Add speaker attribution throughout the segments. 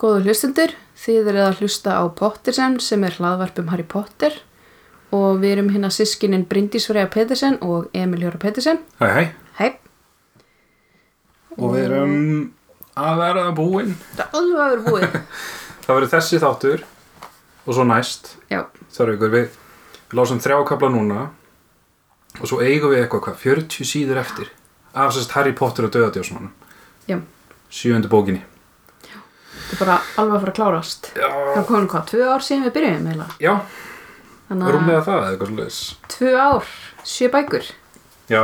Speaker 1: Góðu hlustendur, þið eruð að hlusta á Pottersen sem er hlaðvarp um Harry Potter og við erum hérna sískinin Bryndís Freyja Pettersen og Emil Jóra Pettersen.
Speaker 2: Hæ, hæ.
Speaker 1: Hæ,
Speaker 2: Og við erum að vera að búin.
Speaker 1: þetta er alveg að vera búið.
Speaker 2: Það verður þessi þáttur og svo næst.
Speaker 1: Já,
Speaker 2: Þar ykkur, við, við lásum þrjá kapla núna og svo eigum við eitthvað, hvað, 40 síður eftir. Af sérst Harry Potter og döðadjósmanum.
Speaker 1: já,
Speaker 2: Sjöundu bókinni.
Speaker 1: þetta er bara alveg að fara að klárast.
Speaker 2: Já.
Speaker 1: Það er komin hvað, tvö ár síðan við byrjuðum heila.
Speaker 2: Já,
Speaker 1: Þannig að
Speaker 2: rúmlega það eða eitthvað slúðis.
Speaker 1: tvö ár, sjö bækur.
Speaker 2: Já,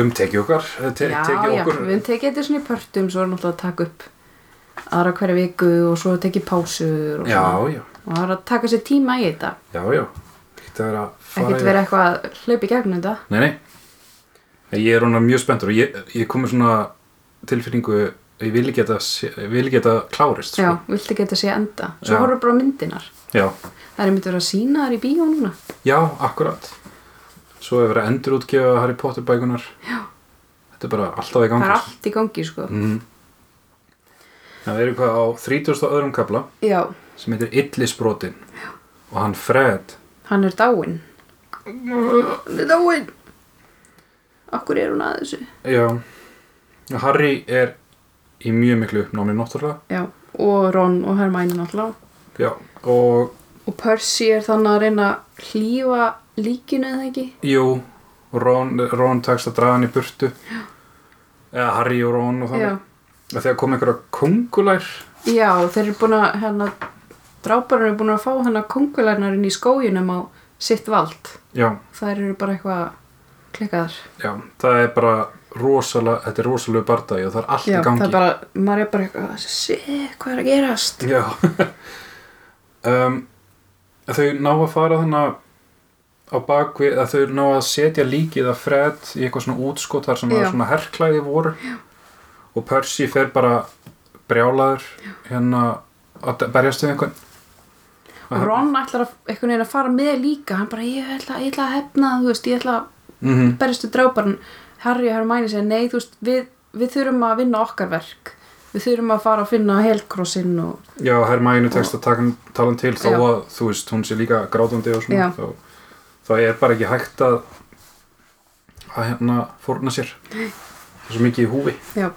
Speaker 2: um tekið okkar. eh, Te,
Speaker 1: já,
Speaker 2: tekið
Speaker 1: já,
Speaker 2: okkur.
Speaker 1: við höfum tekið þetta svona í pörtum, svo er náttúrulega að taka upp aðra hverja viku og svo tekið pásur og
Speaker 2: Já,
Speaker 1: svona.
Speaker 2: já,
Speaker 1: Og það er að taka sér tíma í þetta.
Speaker 2: já, já. Þetta er að fara
Speaker 1: Ekkert
Speaker 2: yfir-
Speaker 1: vera eitthvað að hlaupa í gegnum þetta.
Speaker 2: Nei, nei. Ég er húnna mjög spenntur og ég, ég komi svona tilfinningu ég vil ekki að þetta- ég vil ekki að þetta klárist.
Speaker 1: Já,
Speaker 2: Sko.
Speaker 1: viltu ekki að þetta sé enda Svo
Speaker 2: Já.
Speaker 1: horfum bara á myndinar
Speaker 2: Já.
Speaker 1: Það er einmitt verið að sína þar í bíó núna
Speaker 2: Já, akkurat. Svo hefur verið að endurútgefa Harry Potter bækunar. Já. Þetta er bara alltaf í
Speaker 1: Það
Speaker 2: gangi.
Speaker 1: er allt í gangi, sko
Speaker 2: Mm. Það er eitthvað á 30. öðrum kapla
Speaker 1: Já,
Speaker 2: sem heitir Illisbrotin Já. og hann Fred
Speaker 1: hann er dáinn Hann er dáinn Akkur er hún að þessu
Speaker 2: Já. Harry er í mjög miklu uppnámi náttúrulega.
Speaker 1: Já, og Ron og Hermæni náttúrulega
Speaker 2: Já. Og
Speaker 1: Og Percy er þannig að reyna að hlýfa líkinu eða ekki
Speaker 2: Jú, Ron, Ron tekst að draga hann í burtu eða Harry og Ron og
Speaker 1: Já,
Speaker 2: þannig að þegar kom einhverja kongulær
Speaker 1: Já þeir eru búin að hérna, Dráparinn eru búin að fá hennar kongulærnarinn í skóginum á sitt vald
Speaker 2: já,
Speaker 1: Þær eru bara eitthvað klikkaðar
Speaker 2: já, það er bara rosalega, þetta er rosalega bardagi og það er allt
Speaker 1: Já,
Speaker 2: í gangi
Speaker 1: það er bara, maður er bara eitthvað, shit, hvað er að gerast?
Speaker 2: Já um, Þau ná að fara þannig á bakvið að þau ná að setja líkið að Fred í eitthvað svona útskot þar sem
Speaker 1: Já.
Speaker 2: að svona herrklæði voru Já. og Percy fer bara brjálaður hérna að berjast við einhvern
Speaker 1: Og Ron ætlar að, einhvern veginn að fara með líka, hann bara, ég ætla, ég ætla að hefna, þú veist, ég ætla að
Speaker 2: mm -hmm.
Speaker 1: berjastu dráparinn, Harry og Hermione segja, nei, þú veist, við, við þurfum að vinna okkar verk, við þurfum að fara að finna helkrossinn og,
Speaker 2: Já, Hermæni tekst að taka hann- tala hann til þó
Speaker 1: Já.
Speaker 2: að, þú veist, hún sé líka grátandi og
Speaker 1: Já.
Speaker 2: svona, þá, þá er bara ekki hægt að að hérna fórna sér það er svo mikið í húfi
Speaker 1: já,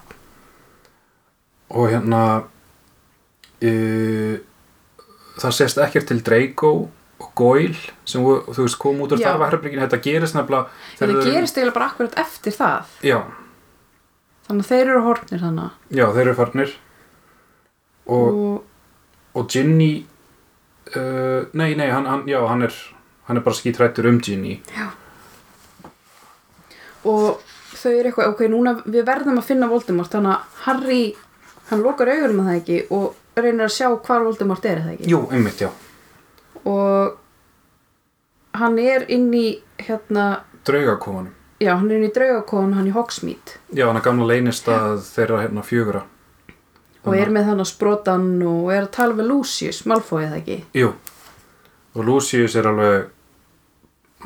Speaker 2: og hérna uh, það sést ekkert til Draco og Goyle sem, vo- þú veist, kom út úr
Speaker 1: Já.
Speaker 2: þarfaherbrygginu þetta gerist nefnilega þegar
Speaker 1: þetta
Speaker 2: þeir eru-
Speaker 1: gerist eiginlega bara akkurat eftir það,
Speaker 2: Já,
Speaker 1: þannig að þeir eru horfnir þannig,
Speaker 2: já, þeir eru farnir og,
Speaker 1: og
Speaker 2: og Ginny uh, nei, nei, hann, hann, já, hann er hann er bara skítrættur um Ginny
Speaker 1: og þau eru eitthvað, ok, núna við verðum að finna Voldemort, þannig að Harry, hann lokar augunum að það ekki og reynir að sjá hvar Voldemort er, er það ekki?
Speaker 2: Jú, einmitt, já.
Speaker 1: og hann er inn í hérna,
Speaker 2: Draugakofanum.
Speaker 1: já hann er inn í draugakon hann í Hogsmeade
Speaker 2: Já, hann er gamla leynist að þeirra hérna fjögura.
Speaker 1: og er með þannig sprotan og er að tala við Lucius, Malfoy eða ekki
Speaker 2: Jú. Og Lucius er alveg,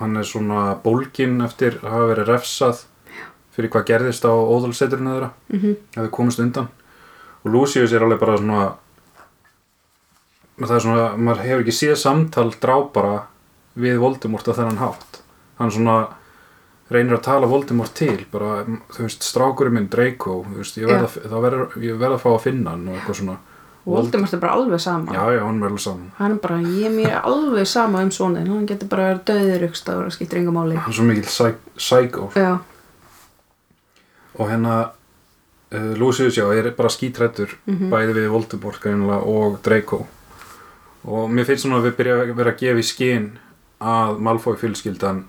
Speaker 2: hann er svona bólginn eftir að hafa verið refsað fyrir hvað gerðist á óðalseturinu þeirra. Mm -hmm. Ef þau komist undan. Og Lucius er alveg bara svona, það er svona, maður hefur ekki séð samtal drápara við Voldemort á þennan hátt. Hann svona reynir að tala Voldemort til, bara, þú veist, strákurinn minn Draco, þú veist, ég verð að, þá verð, ég verð að fá að finna hann og eitthvað svona.
Speaker 1: og Voldemort er bara alveg sama
Speaker 2: Já, já, hann verður saman.
Speaker 1: hann er bara, ég er mér alveg sama um svona hann getur bara að vera döður ykst að vera skiptir yngur máli
Speaker 2: hann er svo mikill psy- psycho
Speaker 1: já,
Speaker 2: og hérna uh, Lucius já, er bara skítrættur bæði við Voldemort greinilega og Draco og mér finnst svona að við byrja að vera að gefa í skinn að Malfoy fylskildan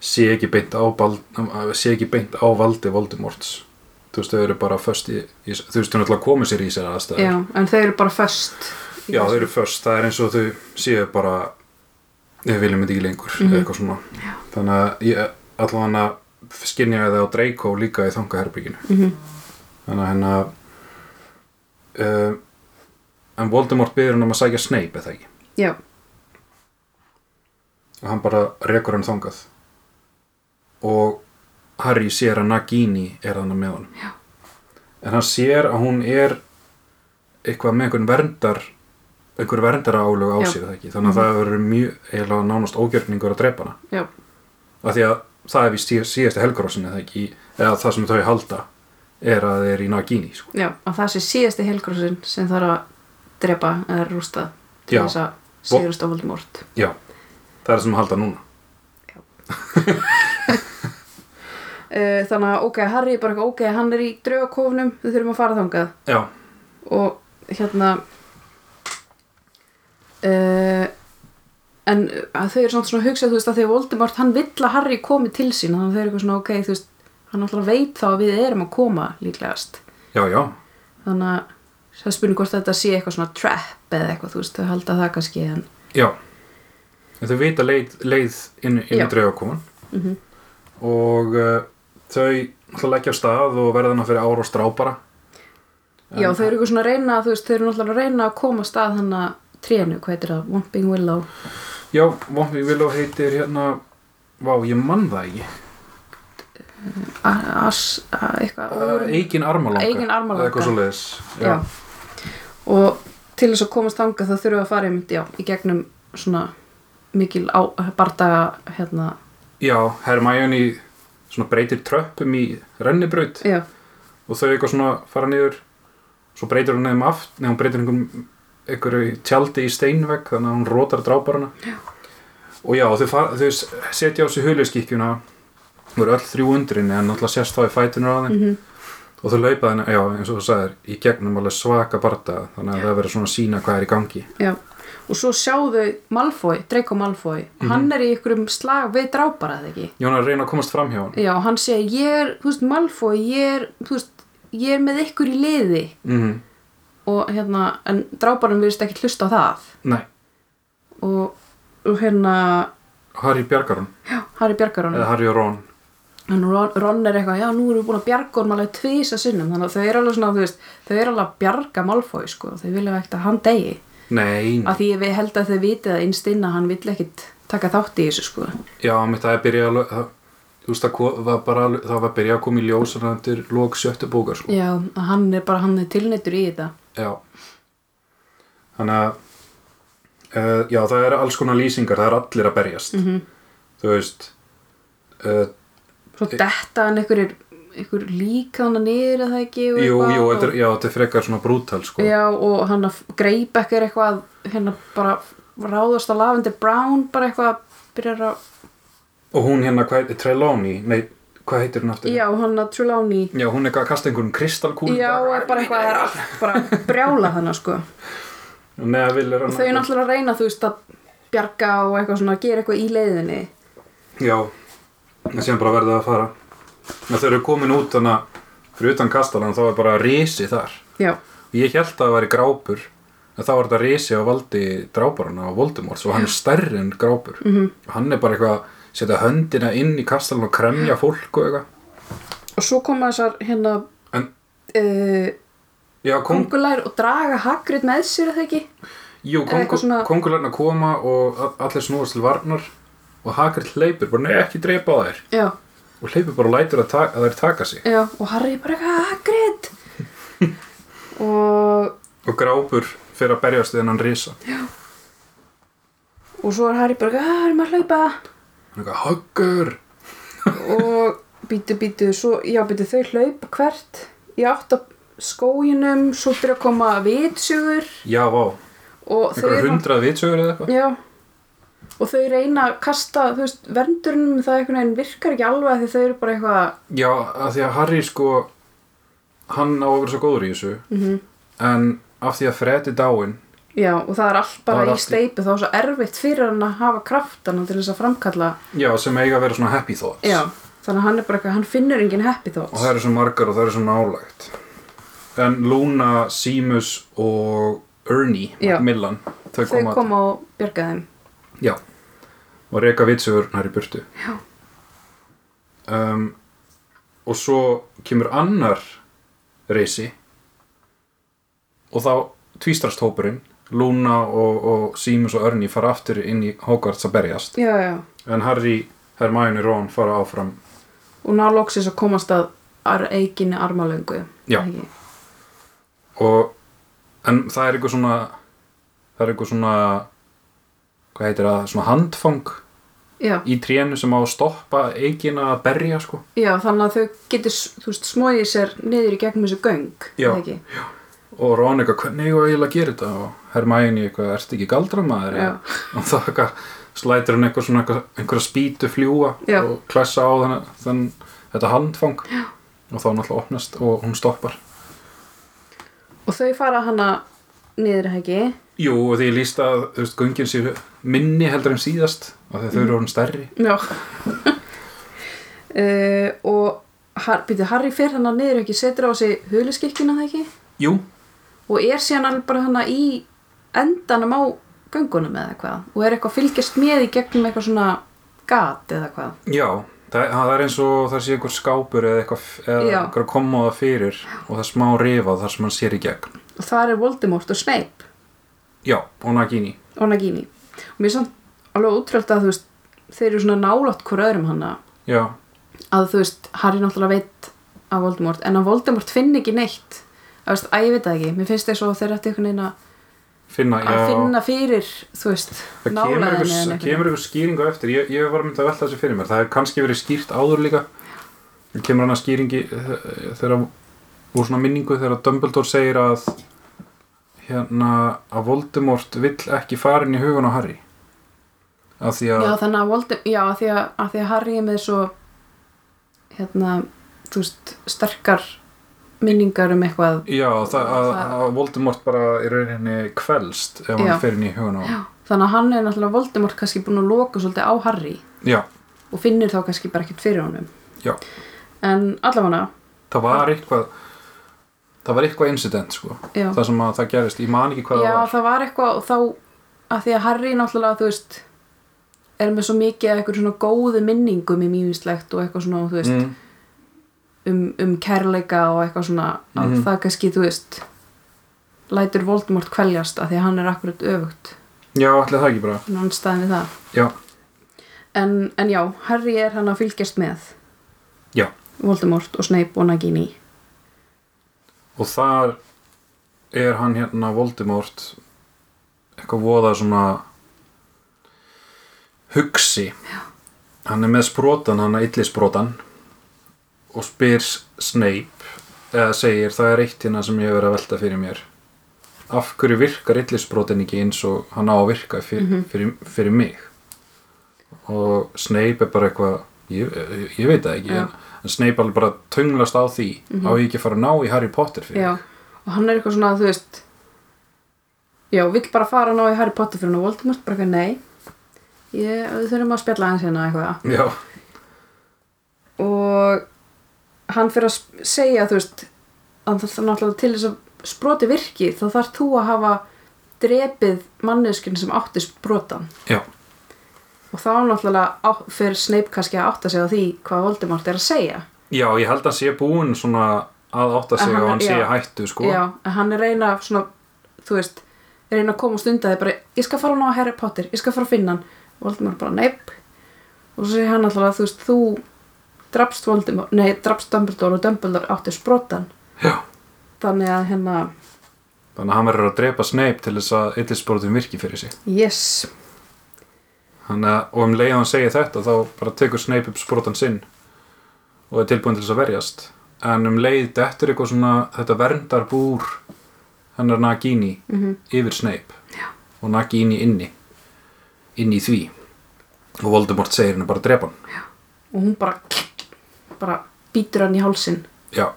Speaker 2: sé ekki beint á bald, að sé ekki beint á valdi Voldemorts þú veist, þau eru bara föst í, í þú veist, þau náttúrulega komið sér í sér aðstæður
Speaker 1: já, en þau eru bara föst í
Speaker 2: Já,
Speaker 1: þessu.
Speaker 2: þau eru först, það er eins og þau séu bara við viljum þetta ekki lengur eða eitthvað svona Já. þannig að ég allan að skinja það á Draco líka í þangaherbygginu -hmm. þannig að hérna uh, en Voldemort byrður hann um að sækja Snape eða ekki
Speaker 1: já,
Speaker 2: og hann bara rekur hann þangað og Harry sér að Nagini er hann með honum Já. en hann sér að hún er eitthvað með einhvern verndar einhver verndara álög á
Speaker 1: Já. Mhm.
Speaker 2: sér er það ekki þannig að það verður mjög eiginlega nánast ógjörningur að drepa hana
Speaker 1: Já,
Speaker 2: af því að það er við síðasta helgrossin eða, ekki, eða það sem þau halda er að þeir eru í Nagini sko.
Speaker 1: já, að það sé síðasti helgrúsin sem þarf að drepa eða rústa til
Speaker 2: Já.
Speaker 1: þess að sigurst á Voldemort.
Speaker 2: já, það er það sem þau halda núna
Speaker 1: Uh, þannig að ok, Harry er bara eitthvað, ok, hann er í draugakofnum, við þurfum að fara þangað
Speaker 2: já,
Speaker 1: og hérna uh, en að þau eru samt svona að hugsa þú veist að því að Voldemort, hann vill að Harry komi til sín, þannig að þau eru eitthvað svona ok, þú veist hann alltaf veit þá að við erum að koma líklegast,
Speaker 2: já, já,
Speaker 1: þannig að það er spurning hvort þetta sé eitthvað svona trap eða eitthvað, þú veist, þau halda það kannski en
Speaker 2: já en þau vita leið, leið inn,
Speaker 1: Já.
Speaker 2: inn í draugakon og uh, þau náttúrulega leggja á stað og verða hann fyrir ára og strápara
Speaker 1: Já, þau eru eitthvað svona að reyna, þú veist, þau eru náttúrulega að reyna að koma að stað hann að trénu, hvað heitir það, Womping Willow.
Speaker 2: já, Wompy Willow heitir hérna vá, ég mann það ekki
Speaker 1: A- Ass, a- eitthvað,
Speaker 2: Uh, Eikin armalanga
Speaker 1: Um, Eikin armalanga.
Speaker 2: Eða eitthvað svo leiðis
Speaker 1: já. Og til þess að komast þangað þá þurfum við að fara einmitt, já, í gegnum svona mikil á, bardaga, hérna,
Speaker 2: já, Hermione svona breytir tröppum í rennibraut
Speaker 1: já,
Speaker 2: og þau eitthvað svona fara niður svo breytir hún neðum aft neðan hún breytir einhverjum einhverju tjaldi í steinvegg þannig að hún rótar dráparana já. og já, þau, fara, þau s- setja á sig huliskikkjuna og eru öll þrjú undrinni en náttúrulega sérst þá í fætunur á þeim
Speaker 1: mhm,
Speaker 2: og þau laupa þenni, já, eins og þú sagðir í gegnum alveg svaka bardaga þannig að það verður svona að sína hvað er í gangi
Speaker 1: já. Og svo sjáðu Malfoy, Draco Malfoy, hann er í einhverjum slag við dráparað, ekki?
Speaker 2: Jón er að reyna að komast fram hjá hann
Speaker 1: Já, hann segir, ég er, þú veist, Malfoy, ég er, þú veist, ég er með ykkur í liði
Speaker 2: mm,
Speaker 1: og hérna, en dráparum virðist ekki hlusta á það.
Speaker 2: nei,
Speaker 1: og, og hérna
Speaker 2: Harry bjargar hann
Speaker 1: Harry bjargar
Speaker 2: eða
Speaker 1: honum
Speaker 2: Harry og Ron
Speaker 1: en Ron, Ron er eitthvað, já nú erum við búin að bjarga honum alveg tvisa sinnum þannig að þau eru alveg svona, þú veist þau eru alveg að bjarga Malfoy sko þau vilja ekkert að hann degi
Speaker 2: Mm. nei,
Speaker 1: af því ég held að þau vitið að innst inn að hann vill ekkit taka þátt í þessu sko
Speaker 2: já, mitt það er byrjað alveg það, þú veist, það ko- var bara alveg- það var byrjað að koma í ljós hann eftir lók sjöttu bókar sko.
Speaker 1: já, að hann er bara, hann er tilneittur í þetta
Speaker 2: já þannig að uh, já, það eru alls konar lýsingar það eru allir að berjast
Speaker 1: Mhm.
Speaker 2: mm -hmm. þú veist uh,
Speaker 1: svo detta hann einhver er einhver líka hann niður að það ekki og
Speaker 2: jú,
Speaker 1: eitthvað
Speaker 2: jú,
Speaker 1: og-
Speaker 2: þetta er, já, þetta er frekar svona brútal sko.
Speaker 1: Já, og hann að greip ekki eitthvað, hérna bara ráðast að Lavender Brown bara eitthvað byrjar að
Speaker 2: og hún hérna, hvað heitir, Trelawney nei, hvað heitir hún aftur?
Speaker 1: Já, hann að Trelawney
Speaker 2: já, hún er eitthvað að kasta einhverjum kristalkúlum
Speaker 1: Já, er bara eitthvað að allt bara brjála þannig sko.
Speaker 2: neða vil er hann
Speaker 1: Þau er náttúrulega að reyna, þú veist, að bjarga og eitthvað svona, gera eitthvað í leiðinni
Speaker 2: Já, en síðan bara verða að fara En þegar þau eru komin út þannig að fyrir utan kastalan þá er bara risi þar
Speaker 1: Já,
Speaker 2: Ég held að það væri grápur en þá var þetta risi á valdi dráparana á Voldemort og hann er stærri en grápur mm
Speaker 1: Mhm.
Speaker 2: -hmm. og hann er bara eitthvað að setja höndina inn í kastalan og kremja fólk og eitthvað
Speaker 1: og svo koma þessar hérna
Speaker 2: En,
Speaker 1: uh,
Speaker 2: já, kong,
Speaker 1: kongulær og draga Hagrid með sér er það ekki
Speaker 2: jú, kongu,
Speaker 1: eitthvað svona-
Speaker 2: kongularna koma og a- allir snúast til varnar og Hagrid hleypur bara, nei, ekki dreipa þær
Speaker 1: Já,
Speaker 2: og hleypur bara og lætur að, ta að þær taka sig
Speaker 1: já, og Harry bara eitthvað Hagrid og,
Speaker 2: og grápur fyrir að berjast við hennan risa
Speaker 1: og svo er Harry bara eitthvað, "Ah, erum að hlaupa
Speaker 2: Hann er eitthvað, huggur
Speaker 1: og býtu, býtu, svo, já, býtu, þau hlaupa hvert í átt að skóginum, svo byrja að koma vitsugur
Speaker 2: Já, vá,
Speaker 1: og þau
Speaker 2: einhverja
Speaker 1: eru
Speaker 2: hundrað vitsögur eða eitthvað
Speaker 1: já, og þau reyna að kasta, þú veist, verndurinnum það einhvern veginn virkar ekki alveg af því þau eru bara eitthvað,
Speaker 2: Já, af því að Harry sko hann á að vera svo góður í þessu
Speaker 1: Mhm.
Speaker 2: -hmm. en af því að Fred er dáinn
Speaker 1: já, og það er allt
Speaker 2: Það
Speaker 1: bara
Speaker 2: er
Speaker 1: í
Speaker 2: allt í-
Speaker 1: steipu, þá er svo erfitt fyrir hann að hafa kraftana til þess að framkalla
Speaker 2: já, sem eiga að vera svona happy thoughts
Speaker 1: já, þannig að hann er bara eitthvað, hann finnur engin happy
Speaker 2: og
Speaker 1: thoughts
Speaker 2: það eru svo margar og það eru svo nálægt en Luna, Seamus og Ernie
Speaker 1: Já.
Speaker 2: Millan, þau,
Speaker 1: þau
Speaker 2: koma
Speaker 1: koma og bjarga þeim
Speaker 2: Já, og reka vitsögurnar í burtu
Speaker 1: Já.
Speaker 2: um, Og svo kemur annar reysi og þá tvístrast hópurinn Luna og, og Seamus og Ernie fara aftur inn í Hogwarts að berjast
Speaker 1: já, já,
Speaker 2: en Harry, Hermione og Ron fara áfram
Speaker 1: og ná loksins að komast að ar eiginni armalöngu
Speaker 2: Já.
Speaker 1: Ekki?
Speaker 2: og en það er eitthvað svona það er eitthvað svona hvað heitir það, svona handfang
Speaker 1: já,
Speaker 2: í trénu sem á að stoppa eigin að berja sko
Speaker 1: já, þannig að þau getur þú veist, smóið sér niður í gegnum þessu göng
Speaker 2: Já.
Speaker 1: er það ekki?
Speaker 2: og Ron eitthvað, hvernig eigum við eiginlega að gera þetta og Hermæni eitthvað, ertu ekki galdramæður
Speaker 1: Já.
Speaker 2: og þá eitthvað slætur hann eitthvað svona eitthvað, einhverja spýtu fljúa
Speaker 1: Já.
Speaker 2: og klessa á þann, þann þetta handfang Já. og þá náttúrulega opnast og hún stoppar
Speaker 1: og þau fara hana niður er það ekki?
Speaker 2: Jú, og því ég líst að þú veist, göngin sér minni heldur en síðast og þegar þau
Speaker 1: Mm.
Speaker 2: eru orðin stærri
Speaker 1: já uh, og har, býtu, Harry fer hana niður ekki setur á sig huliskikkuna það ekki?
Speaker 2: Jú,
Speaker 1: og er síðan alveg bara hana í endanum á göngunum eða hvað og er eitthvað að fylgjast með í gegnum eitthvað svona gat eða hvað
Speaker 2: Já, það, það er eins og það sé einhver skápur eða eitthvað eða
Speaker 1: Já.
Speaker 2: einhver komóða fyrir og það er smá rifað þar sem hann sér í gegn.
Speaker 1: og þar er Voldemort og Snape
Speaker 2: Já, og Nagini.
Speaker 1: og Nagini og mér er samt alveg útröld að þú veist þeir eru svona nálátt hver öðrum hana
Speaker 2: Já,
Speaker 1: að þú veist, Harry náttúrulega veit að Voldemort, en að Voldemort finn ekki neitt að veist, að ég veit það ekki mér finnst þess að þeir ætti einhvern veginn að-
Speaker 2: finna, já.
Speaker 1: að finna fyrir þú veist,
Speaker 2: það kemur
Speaker 1: nálæðinni
Speaker 2: einhver,
Speaker 1: eða
Speaker 2: það kemur einhver skýringu eftir. Ég, ég var myndið að velta þessu fyrir mér. Það hefur kannski verið skýrt áður líka. Það kemur hann að skýringi eh, þegar úr svona minningu þegar Dumbledore segir að hérna að Voldemort vill ekki fara inn í hugan á Harry. Af því að
Speaker 1: Já, þannig að Voldem, já, að því að, að því að Harry er með svo hérna, þú veist, sterkar minningar um eitthvað
Speaker 2: Já, það, að,
Speaker 1: Það-
Speaker 2: að Voldemort bara í rauninni kvelst ef hann
Speaker 1: Já.
Speaker 2: fer inn í hugun á Já,
Speaker 1: þannig að hann er náttúrulega Voldemort kannski búin að loka svolítið á Harry
Speaker 2: já,
Speaker 1: og finnir þá kannski bara ekkert fyrir honum en allavega,
Speaker 2: það var eitthvað það var eitthvað incident sko
Speaker 1: já
Speaker 2: það sem að það gerist, ég man ekki hvað
Speaker 1: Já,
Speaker 2: það var
Speaker 1: það var eitthvað og þá að því að Harry náttúrulega, þú veist er með svo mikið af eitthvað svona góðu minningum í mýmislegt og eitthvað svona, þú veist
Speaker 2: mm,
Speaker 1: um, um kærleika og eitthvað svona að
Speaker 2: Mhm.
Speaker 1: það kannski, þú veist lætur Voldemort kveljast að því að hann er akkurat öfugt
Speaker 2: Já, allir það ekki bara
Speaker 1: en hann staðin við það
Speaker 2: Já,
Speaker 1: en, en já, Harry er hann að fylgjast með
Speaker 2: Já.
Speaker 1: Voldemort og Snape og Nagini
Speaker 2: og þar er hann hérna Voldemort eitthvað voða svona hugsi Já. hann er með sprótan, hann er illisprótan og spyr Snape eða segir það er eitt hérna sem ég hef verið að velta fyrir mér af hverju virkar illisprótin ekki eins og hann á að virka fyrir,
Speaker 1: Mhm.
Speaker 2: fyrir, fyrir mig og Snape er bara eitthvað ég, ég- ég veit það ekki
Speaker 1: Já. Mhm.
Speaker 2: en, en Snape alveg bara tunglast á því á ég ekki að fara að ná í Harry Potter fyrir
Speaker 1: já, og hann er eitthvað svona, þú veist já, vill bara fara ná í Harry Potter fyrir hann og Voldemort bara eitthvað nei ég, við þurfum að spjalla hans hérna eitthvað
Speaker 2: Já,
Speaker 1: og hann fyrir að sp- segja þú veist að það er náttúrulega til þess að sproti virki þá þarf þú að hafa drepið manneskinn sem átti sprotan
Speaker 2: já,
Speaker 1: og þá náttúrulega á, fyrir Snape kannski að átta sig á því hvað Voldemort er að segja
Speaker 2: já, ég held að sé búinn svona að átta sig
Speaker 1: Að hann-
Speaker 2: og hann sé
Speaker 1: já.
Speaker 2: í hættu sko
Speaker 1: já, en hann er reyna svona, þú veist, reyna að komast undan því bara, ég skal fara á ná Harry Potter, ég skal fara að finna hann Voldemort bara, neip og svo segir hann náttúrulega, þú veist, þú drapst Voldemort, nei, drapst Dumbledore og Dumbledore átti sprotan
Speaker 2: já.
Speaker 1: þannig að hérna,
Speaker 2: Þannig að hann verður að drepa Snape til þess að illisportum virki fyrir sig
Speaker 1: yes
Speaker 2: Þannig að, og um leið og hann segir þetta þá bara tekur Snape upp sprótan sinn og er tilbúin til þess að verjast en um leið dettur eitthvað svona þetta verndarbúr hennar Nagini
Speaker 1: Mhm.
Speaker 2: yfir Snape já. og Nagini inni inni í því og Voldemort segir henni bara að drepa hann
Speaker 1: og hún bara bara býtur hann í hálsin
Speaker 2: Já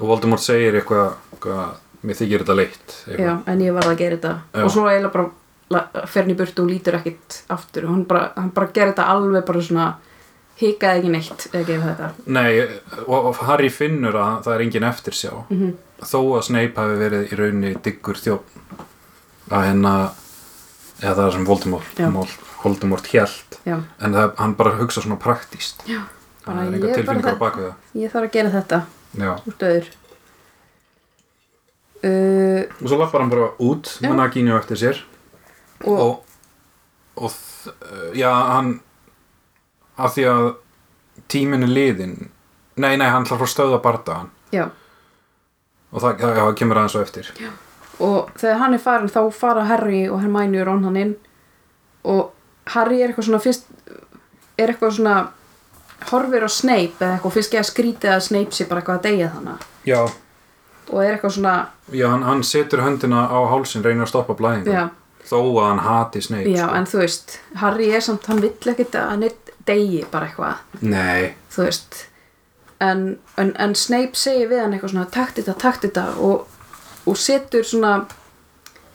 Speaker 2: og Voldemort segir eitthvað, eitthvað mér þykir þetta leitt eitthvað.
Speaker 1: já, en ég var að gera þetta
Speaker 2: Já.
Speaker 1: og svo eiginlega bara la- fer hann í burtu og lítur ekkit aftur og hann bara, hann bara gerir þetta alveg bara svona hikaði ekki neitt eða gefið þetta
Speaker 2: Nei, og, og Harry finnur að það er engin eftir sjá
Speaker 1: Mhm.
Speaker 2: þó að Snape hafi verið í raunni diggur þjófn að hérna eða það er sem Voldemort,
Speaker 1: Já.
Speaker 2: Mol- Voldemort hélt
Speaker 1: já,
Speaker 2: en það, hann bara hugsa svona praktíst
Speaker 1: Já, bara
Speaker 2: það er
Speaker 1: ég
Speaker 2: einhver
Speaker 1: er bara
Speaker 2: tilfinningar
Speaker 1: það-
Speaker 2: á bakvið það
Speaker 1: ég þarf að gera þetta
Speaker 2: Já.
Speaker 1: úr döður uh,
Speaker 2: og svo lappar hann bara út
Speaker 1: Já.
Speaker 2: með Nagini á eftir sér
Speaker 1: og,
Speaker 2: og, og þ- uh, já, hann af því að tíminn er liðin nei, nei, hann ætlar að fara að stöða bardaðan
Speaker 1: já,
Speaker 2: og það, það, það kemur aðeins á eftir já.
Speaker 1: og þegar hann er farin þá fara Harry og Hermione og Ron hann inn og Harry er eitthvað svona fyrst er eitthvað svona horfir á Snape eða eitthvað fyrst geða skrítið að Snape sé bara eitthvað að deyja þannig
Speaker 2: já,
Speaker 1: og er eitthvað svona,
Speaker 2: já hann, hann setur höndina á hálsin reynir að stoppa blæðingar
Speaker 1: já,
Speaker 2: þó að hann hati Snape
Speaker 1: já
Speaker 2: sko.
Speaker 1: en þú veist Harry er samt, hann vill ekkit að hann deyji bara eitthvað
Speaker 2: nei,
Speaker 1: þú veist en, en, en Snape segir við hann eitthvað svona takt þetta, takt þetta og, og setur svona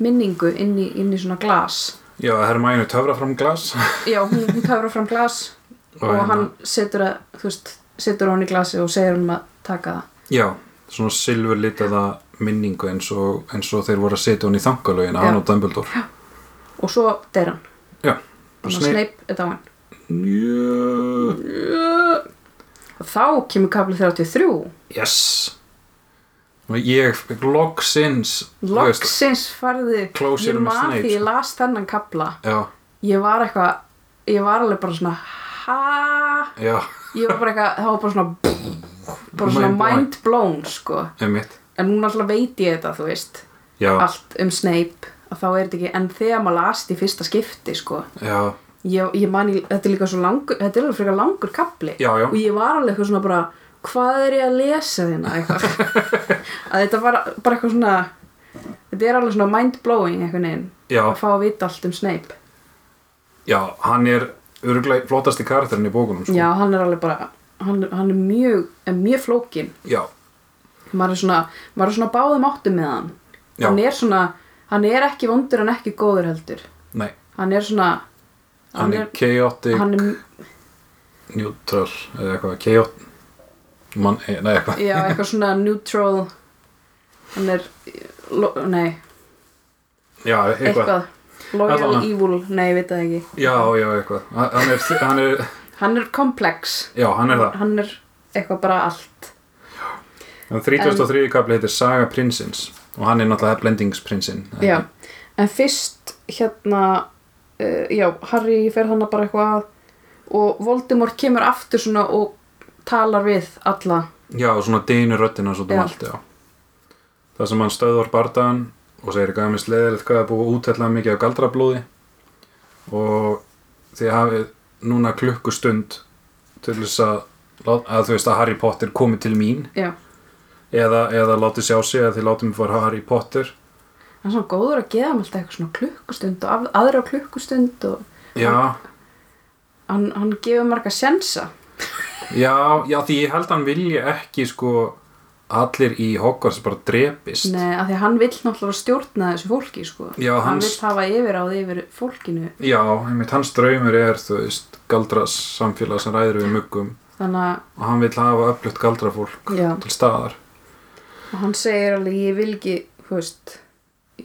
Speaker 1: minningu inn í, inn í svona glas
Speaker 2: já, Hermæni töfra fram glas
Speaker 1: já, hún, hún töfra fram glas og,
Speaker 2: hérna-
Speaker 1: hann setur að, þú veist, setur hann í glasi og segir hann að taka það
Speaker 2: já, svona silfurlitaða minningu eins og, eins og þeir voru að setja hann í þangalögin
Speaker 1: Já.
Speaker 2: hann og Dumbledore
Speaker 1: og svo deyr hann
Speaker 2: já,
Speaker 1: og Snape, Snape er dáin
Speaker 2: Snei...
Speaker 1: og þá kemur kafli 33
Speaker 2: yes og ég loksins þú veist,
Speaker 1: loksins farði
Speaker 2: Closure
Speaker 1: ég
Speaker 2: með
Speaker 1: man
Speaker 2: Snape,
Speaker 1: því ég
Speaker 2: sko.
Speaker 1: las þennan kafla
Speaker 2: já,
Speaker 1: ég var eitthvað ég var alveg bara svona hæ
Speaker 2: já,
Speaker 1: ég var bara eitthvað, það var bara svona bara svona
Speaker 2: Mind blown.
Speaker 1: mind blown sko.
Speaker 2: emitt
Speaker 1: en núna alltaf veit ég þetta, þú veist
Speaker 2: já,
Speaker 1: allt um Snape að þá er þetta ekki, en þegar maður lasti í fyrsta skipti sko,
Speaker 2: já,
Speaker 1: ég, ég mani þetta er líka svo langur, þetta er alveg frekar langur kapli
Speaker 2: já, já
Speaker 1: og ég var alveg eitthvað svona bara hvað er ég að lesa þína að þetta var bara eitthvað svona þetta er alveg svona mind blowing einhvern veginn,
Speaker 2: Já.
Speaker 1: að fá að vita allt um Snape
Speaker 2: Já, hann er örgulega flottasti karakterinn í bókunum sko.
Speaker 1: já, hann er alveg bara hann, hann er mjög, er mjög flókin
Speaker 2: já,
Speaker 1: maður er svona, maður er svona báðum áttum með hann
Speaker 2: Já.
Speaker 1: hann er svona hann er ekki vondur en ekki góður heldur
Speaker 2: nei
Speaker 1: hann er svona
Speaker 2: Hann er chaotic,
Speaker 1: hann er,
Speaker 2: neutral eða eitthvað, chaot Man, eh, nei, eitthvað,
Speaker 1: já, eitthvað svona neutral hann er lo, nei,
Speaker 2: já, eitthvað
Speaker 1: eitthvað loyal,
Speaker 2: Allavega.
Speaker 1: evil, nei, ég veit það ekki
Speaker 2: Já, já, eitthvað Hann- hann er, hann er,
Speaker 1: hann er komplex
Speaker 2: já, hann er það
Speaker 1: hann er eitthvað bara allt
Speaker 2: En 33. kapli heitir Saga prinsins og hann er náttúrulega blendingsprinsinn eða
Speaker 1: já, en fyrst hérna uh, já, Harry fer hana bara eitthvað að og Voldemort kemur aftur svona og talar við alla
Speaker 2: Já, og svona dýnu röddina svo
Speaker 1: Já.
Speaker 2: dælt, já. Það sem hann stöðvar bardaðan og segir ekki aðeins leðilegt hvað er búið útætla mikið af galdrablóði og þið hafið núna klukkustund til þess að, lát- að þú veist að Harry Potter komi til mín
Speaker 1: já,
Speaker 2: eða, eða látið sjá sig að þið látið mig fara Harry Potter
Speaker 1: hann er svona góður að geða með alltaf eitthvað svona klukkustund og af, aðra klukkustund og
Speaker 2: Já,
Speaker 1: hann, hann gefur marga sensa
Speaker 2: já, já, því ég held að hann vilji ekki sko allir í Hogwarts bara drepist
Speaker 1: Nei, af því að hann vill náttúrulega stjórna þessu fólki sko.
Speaker 2: Já,
Speaker 1: hann
Speaker 2: hans-
Speaker 1: vill hafa yfir á því yfir fólkinu
Speaker 2: Já, einmitt hans draumur er, þú veist, galdras samfélag sem ræður við muggum
Speaker 1: þannig að
Speaker 2: og hann vil hafa öflutt galdrafólk
Speaker 1: já,
Speaker 2: til staðar
Speaker 1: og hann segir alveg ég vil ekki, þú veist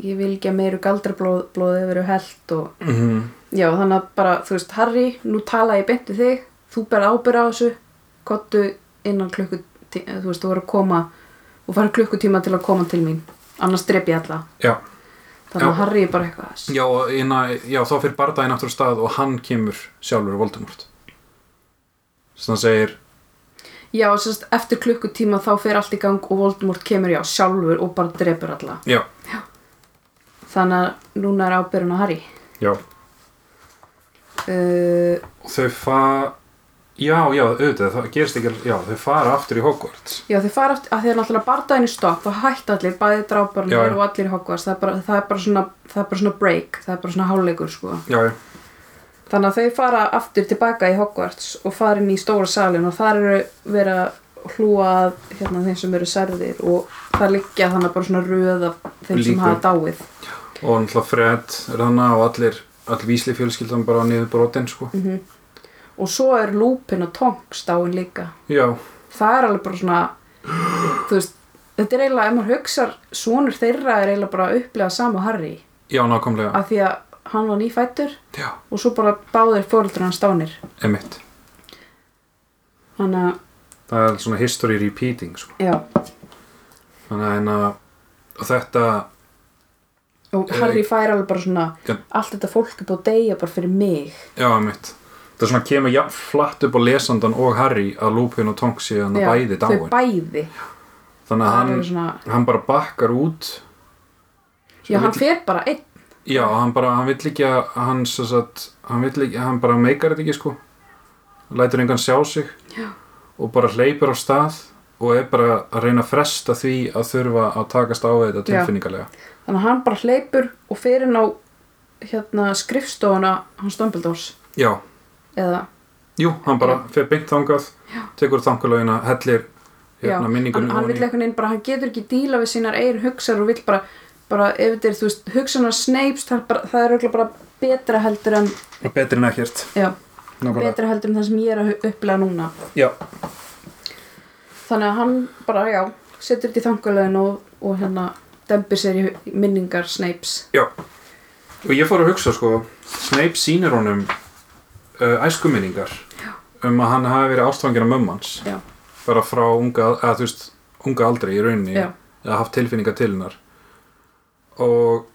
Speaker 1: ég vil ekki að meiru galdrablóð blóð yfir og held og
Speaker 2: mm -hmm.
Speaker 1: já, þannig að bara, þú veist, Harry nú tala ég beint við þig, þú berð ábyrra á þessu kottu innan klukkutíma þú veist, þú voru að koma og fara klukkutíma til að koma til mín annars drep ég alla,
Speaker 2: já.
Speaker 1: þannig að
Speaker 2: Já.
Speaker 1: Harry er bara eitthvað
Speaker 2: Já, og inna, já, þá fyrir bardaðin aftur á stað og hann kemur sjálfur Voldemort sem hann segir
Speaker 1: Já, sérst, eftir klukkutíma þá fer allt í gang og Voldemort kemur já sjálfur og bara drepur alla.
Speaker 2: já,
Speaker 1: Þannig að núna er ábyrjun á Harry.
Speaker 2: já.
Speaker 1: Uh,
Speaker 2: þau fa já, já, auðvitað, það gerist ekki já, þau fara aftur í Hogwarts
Speaker 1: já, þau fara aftur, að þeir náttúrulega bardaðinu stopp og hætt allir, bæði
Speaker 2: Já,
Speaker 1: drábarnir
Speaker 2: já.
Speaker 1: og allir í Hogwarts. Það er, bara, það, er bara svona, það er bara svona break, það er bara svona hálfleikur, sko.
Speaker 2: já, já,
Speaker 1: Þannig að þau fara aftur tilbaka í Hogwarts og fara inn í stóra salin og þar eru verið að hlúa að hérna, þeim sem eru særðir og það liggja þannig bara svona röð af þeim
Speaker 2: Líkum.
Speaker 1: sem hafa dáið.
Speaker 2: og náttúrulega Fred er hann og allir, allir vísli fjölskyldan bara niður brotin, sko
Speaker 1: Og svo er lúpin og tongs dáin líka.
Speaker 2: já,
Speaker 1: það er alveg bara svona þú veist, þetta er eiginlega ef maður hugsar, sonur þeirra er eiginlega bara að upplega sama Harry,
Speaker 2: já, nákvæmlega
Speaker 1: af því að hann var nýfættur
Speaker 2: já,
Speaker 1: og svo bara báðir fóreldur hans dánir
Speaker 2: emitt
Speaker 1: þannig að,
Speaker 2: það er svona history repeating, sko
Speaker 1: já
Speaker 2: þannig að hérna, og þetta
Speaker 1: og Harry fær alveg bara svona
Speaker 2: Já.
Speaker 1: allt þetta fólk er búið að deyja bara fyrir mig
Speaker 2: Já, mitt. Það er svona kemur jafn flatt upp á lesandan og Harry að Lupin og Tonks sé hann
Speaker 1: Já,
Speaker 2: bæði dáin.
Speaker 1: þau bæði
Speaker 2: Þannig að
Speaker 1: Það er
Speaker 2: hann,
Speaker 1: svona,
Speaker 2: hann bara bakkar út
Speaker 1: já, hann fer bara einn
Speaker 2: Já, hann bara, hann vill ekki að hann, sem sagt, hann vill ekki, hann bara meikar þetta ekki sko lætur engan sjá sig
Speaker 1: Já.
Speaker 2: og bara hleypur á stað og er bara að reyna að fresta því að þurfa að takast á við þetta
Speaker 1: Já.
Speaker 2: tilfinningalega
Speaker 1: þannig að hann bara hleypur og fer inn á hérna skrifstofuna hans Dumbledores
Speaker 2: Já,
Speaker 1: eða
Speaker 2: jú, hann bara fer beint þangað Já. tekur þankulögina, hellir
Speaker 1: Já,
Speaker 2: hérna minningunum
Speaker 1: hann, hann
Speaker 2: ofan í-
Speaker 1: vill einhvern veginn bara, hann getur ekki díla við sínar eigin hugsar og vill bara, bara ef þetta er, þú veist, hugsanar Snapes það er, bara, það er örugglega bara betra heldur en
Speaker 2: og betri en ekkert
Speaker 1: já,
Speaker 2: Nákvæmlega.
Speaker 1: betra heldur en það sem ég er að hu- upplega núna
Speaker 2: Já,
Speaker 1: þannig að hann bara, já, setur þetta í þangulegin og, og hérna dembir sér í hu- minningar Snapes
Speaker 2: Já, og ég fór að hugsa sko, Snape sýnir honum uh, æskuminningar um að hann hafi verið ástfangin af mömmans
Speaker 1: Já.
Speaker 2: bara frá unga, að, þú veist, unga aldri í rauninni
Speaker 1: Já.
Speaker 2: eða haft tilfinningar til hennar og,